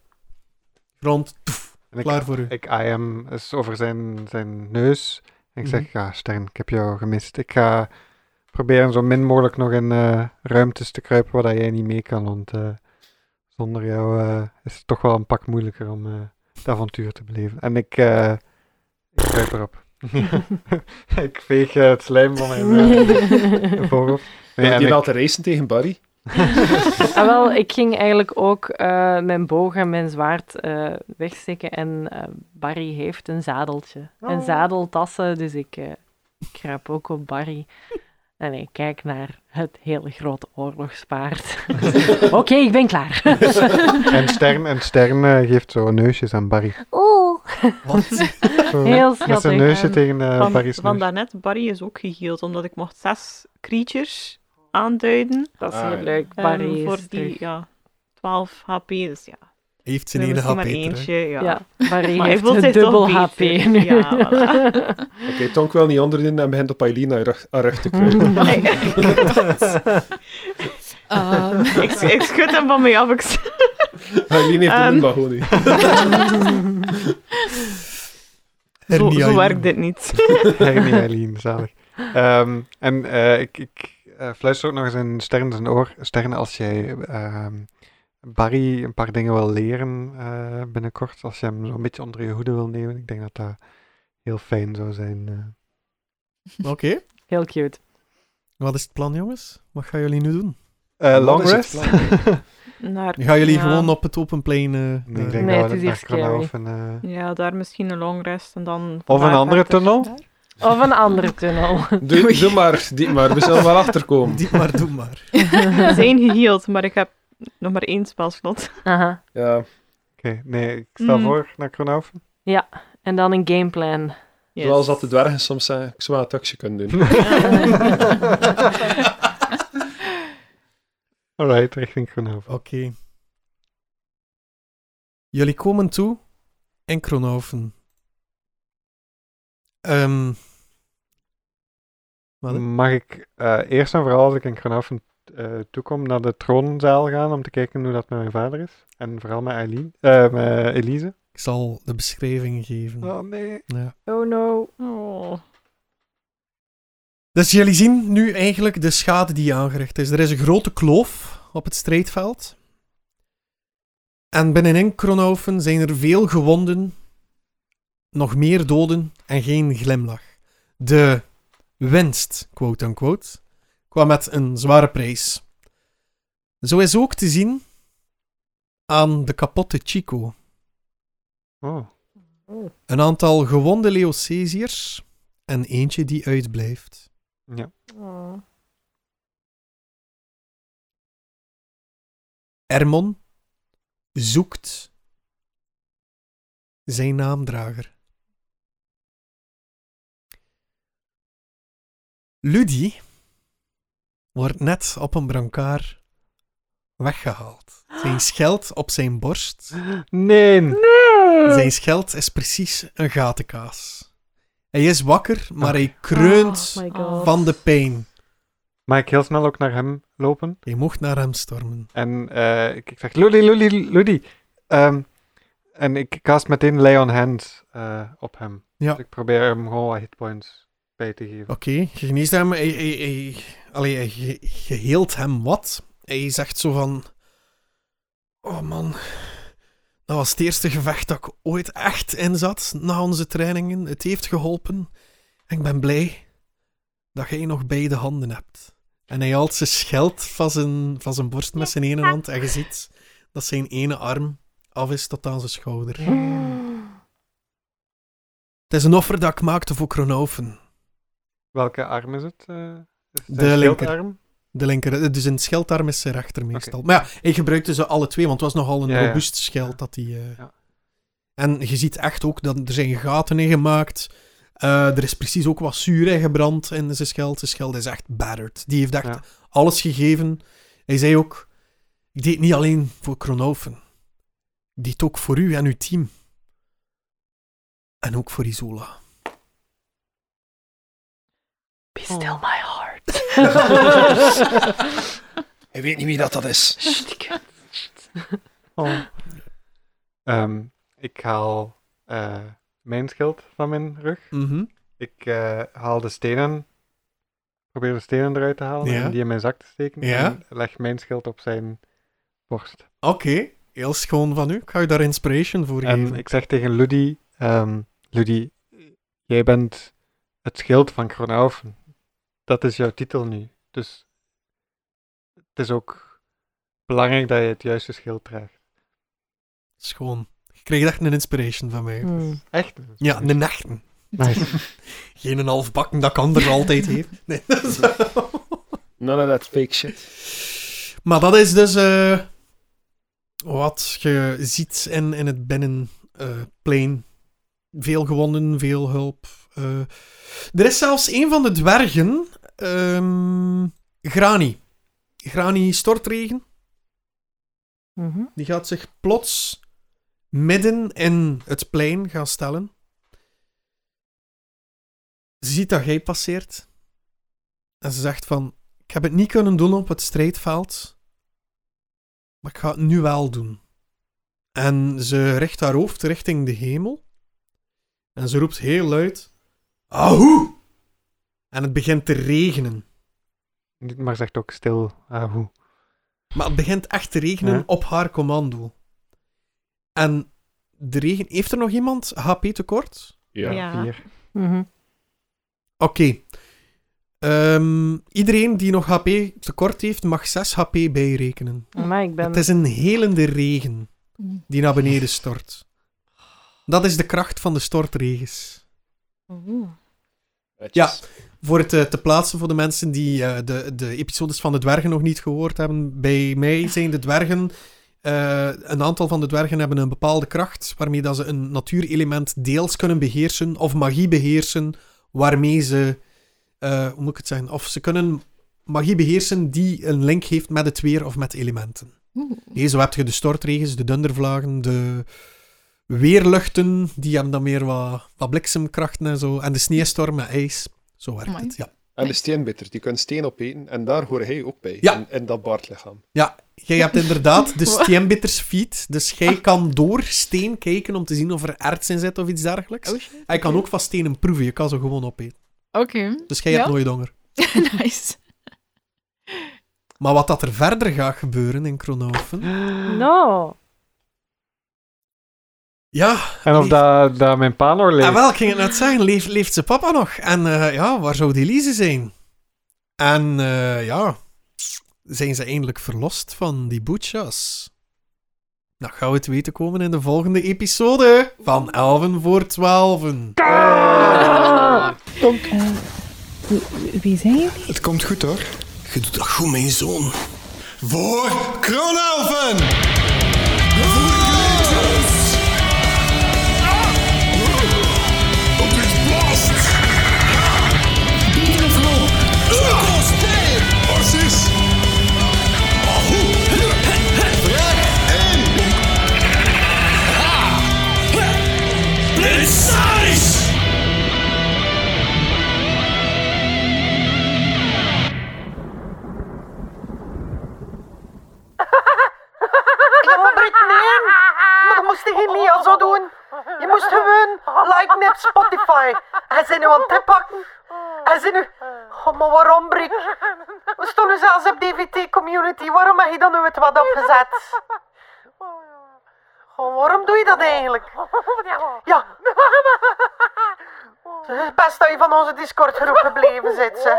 grond. Toef, En ik- klaar voor u. Ik I am is over zijn, zijn neus. En ik zeg, Mhm. ja, Stern, ik heb jou gemist. Ik ga proberen zo min mogelijk nog in eh, ruimtes te kruipen waar dat jij niet mee kan. Want eh, zonder jou eh, is het toch wel een pak moeilijker om eh, het avontuur te beleven. En ik, eh, ik kruip erop. ik veeg eh, het slijm van mijn eh, voorhoofd. Nee, Wil en je ik- laten racen tegen Barry? Ah, wel, ik ging eigenlijk ook eh, mijn boog en mijn zwaard eh, wegsteken. En eh, Barry heeft een zadeltje. Een zadeltassen, dus ik eh kruip ook op Barry. En ik kijk naar het hele grote oorlogspaard. Oké, ik ben klaar. en Stern, en Stern eh, geeft zo neusjes aan Barry. Oeh. Wat? Zo, Heel met zijn schattig. neusje ehm, tegen eh, Van, Barry's van neus. daarnet, Barry is ook geheeld, omdat ik mocht zes creatures aanduiden. Dat is Ah, heel ja. leuk. Ehm, Barry is voor terug. die ja, 12 HP, dus ja. Heeft zijn Er ene was nog hap maar beter, hè. eentje, ja. Ja, Barry Maar heeft hij voelt een zich toch dubbel beter. HP nu. Ja, Oké, Tonk wil niet onderdoen en begint op Aileen haar rug, haar rug te kruipen. Ehm, ik, ik schud hem van mij af. Ik zeg, Aileen heeft een Ehm. Nimba gewoon nu. zo, Hernia zo Jong. werkt dit niet. Hernie Eileen, zalig. Ehm, en eh, ik, ik eh, fluister ook nog eens in Stern zijn oor. Stern, als jij ehm, Barry een paar dingen wil leren eh, binnenkort. Als je hem zo'n beetje onder je hoede wil nemen. Ik denk dat dat heel fijn zou zijn. eh. Oké. Heel cute. Wat is het plan, jongens? Wat gaan jullie nu doen? Eh, Wat long is het rest? plan? Naar, Gaan jullie ja. gewoon op het open plein... eh, Nee, ik eh, denk Nee, dat het we is naar hier scary. Kronhof en, eh, Ja, daar misschien een long rest en dan... Of een vandaag andere verder. tunnel. Of een andere tunnel. Doe, doe maar, die maar. We zullen wel achterkomen. eh, Die maar, doe maar. We zijn geheeld, maar ik heb nog maar één spelslot. Aha. Ja. Oké, nee, ik stel Mm. voor naar Kronhof. En dan een gameplan. Yes. Zoals dat de dwergen soms zeggen, ik zou wel een taxi kunnen doen. Alright, richting Kronhof. Oké. Jullie komen toe in Kronhoven. Ehm, Wat? Mag ik eh, eerst en vooral, als ik in Kronhof toekom, naar de troonzaal gaan om te kijken hoe dat met mijn vader is? En vooral met, Eileen, eh, met Elise. ik zal de beschrijving geven. Oh nee. Ja. Oh no. Oh. Dus jullie zien nu eigenlijk de schade die aangericht is. Er is een grote kloof op het strijdveld. En binnenin Kronhoven zijn er veel gewonden, nog meer doden en geen glimlach. De winst, quote-unquote, kwam met een zware prijs. Zo is ook te zien aan de kapotte Chico. Oh, Een aantal gewonde Leocesiërs en eentje die uitblijft. ja. Oh. Ermon zoekt zijn naamdrager. Ludi wordt net op een brancard weggehaald. Zijn scheld op zijn borst. Nee. Zijn scheld is precies een gatenkaas. Hij is wakker, maar hij kreunt Oh my Oh. god. van de pijn. Mag ik heel snel ook naar hem lopen? Hij mocht naar hem stormen. En eh, ik, ik zeg, Ludi, Ludi, Ludi. Ehm, en ik cast meteen Lay on Hands eh, op hem. Ja. Dus ik probeer hem gewoon wat hitpoints bij te geven. Oké, je geneest hem. Hij, hij, hij, allee, hij ge- geheelt hem wat. Hij zegt zo van... Oh man, dat was het eerste gevecht dat ik ooit echt in zat na onze trainingen. Het heeft geholpen. En ik ben blij dat jij nog beide handen hebt. En hij haalt zijn scheld van zijn, van zijn borst met zijn ene hand. En je ziet dat zijn ene arm af is tot aan zijn schouder. Het is een offer dat ik maakte voor Kronoven. Welke arm is het? eh? is het De zijn linker. schildarm? De linker, eh, dus een scheldarm is zijn rechter meestal. Maar ja, hij gebruikte ze alle twee, want het was nogal een Ja, ja. robuust scheld dat hij... eh, Ja. En je ziet echt ook dat er zijn gaten in gemaakt. Eh, er is precies ook wat zuur in gebrand in zijn scheld. Zijn scheld is echt battered. Die heeft echt Ja. alles gegeven. Hij zei ook, ik deed het niet alleen voor Kronoven. Ik deed het ook voor u en uw team. En ook voor Isola. Be still my heart. Hij weet niet wie dat, dat is. Oh. Ehm, ik haal eh, mijn schild van mijn rug. Mhm. Ik eh, haal de stenen. Probeer de stenen eruit te halen Ja. en die in mijn zak te steken. Ja. En leg mijn schild op zijn borst. Oké, heel schoon van u. Ik ga u daar inspiration voor En geven. ik zeg tegen Ludi, ehm, Ludi, jij bent het schild van Kronaufen. Dat is jouw titel nu. Dus het is ook belangrijk dat je het juiste schild draagt. Schoon. Je kreeg echt een inspiration van mij. Hmm. Echt? Ja, een nachten. Nice. Geen een half bakken dat kan er altijd heeft. Nee, dat is... None of that fake shit. maar dat is dus eh, wat je ziet in, in het binnenplein. veel gewonden, veel hulp. eh. er is zelfs een van de dwergen, ehm, Grani. Grani Stortregen. Mhm. Die gaat zich plots midden in het plein gaan stellen. Ze ziet dat jij passeert. En ze zegt van, ik heb het niet kunnen doen op het strijdveld. Maar ik ga het nu wel doen. En ze richt haar hoofd richting de hemel. En ze roept heel luid, Ahoe! En het begint te regenen. eh, maar zegt ook stil, ahoe. Maar het begint echt te regenen Ja. op haar commando. En de regen... Heeft er nog iemand HP tekort? Ja. Ja. Vier. Mhm. Oké. Ehm, iedereen die nog HP tekort heeft, mag 6 HP bijrekenen. Maar ik ben... Het is een helende regen die naar beneden stort. Dat is de kracht van de stortregens. Oeh. Ja. Voor het eh, te plaatsen voor de mensen die eh, de, de episodes van de dwergen nog niet gehoord hebben. Bij mij zijn de dwergen. eh, een aantal van de dwergen hebben een bepaalde kracht waarmee dat ze een natuurelement deels kunnen beheersen of magie beheersen, waarmee ze, eh, hoe moet ik het zeggen, of ze kunnen magie beheersen die een link heeft met het weer of met elementen. Nee, zo heb je de stortregens, de dundervlagen, de weerluchten, die hebben dan meer wat, wat bliksemkrachten en zo. En de sneeuwstorm en ijs. Zo werkt Amai. het, ja. En de steenbitter, die kunnen steen opeten. En daar hoor hij ook bij. Ja. In, in dat baardlichaam. Jij hebt inderdaad de Wat? Ah. steenbitters feed, dus jij kan door steen kijken om te zien of er erts in zit of iets dergelijks. Oh, shit. Hij kan ook van stenen proeven, je kan ze gewoon opeten. Oké, Dus jij Ja? hebt nooit honger. nice. Maar wat dat er verder gaat gebeuren in Kronoven... No! Ja, En of Lief. dat, dat mijn pa nog leeft. En wel, ik ging het net zeggen, leeft, leeft ze papa nog? En eh, ja, waar zou die Lise zijn? En eh, ja, zijn ze eindelijk verlost van die boetjas? Nou, gaan we het weten komen in de volgende episode van Elven voor Twaalfen. Eh, wie- wie zijn jullie? Het komt goed hoor. Je doet dat goed, mijn zoon. Voor Kronelven! Voor Kratos! Op dit blast! Arsis! Ahoe! Blitzaris! Je moet Brit nemen. Maar dat moest je niet al zo doen. Je moest gewoon like net Spotify. Hij zijn nu aan het pakken. Hij zijn nu... Oh, maar waarom, Brik? We stonden zelfs op DVT-community. Waarom heb je dan nu het wat opgezet? Oh, waarom doe je dat eigenlijk? Ja. Het is best dat je van onze Discord-groep gebleven zit, ze.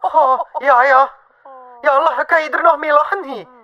Oh, ja, ja. Ja, lachen kan je er nog mee lachen, hier.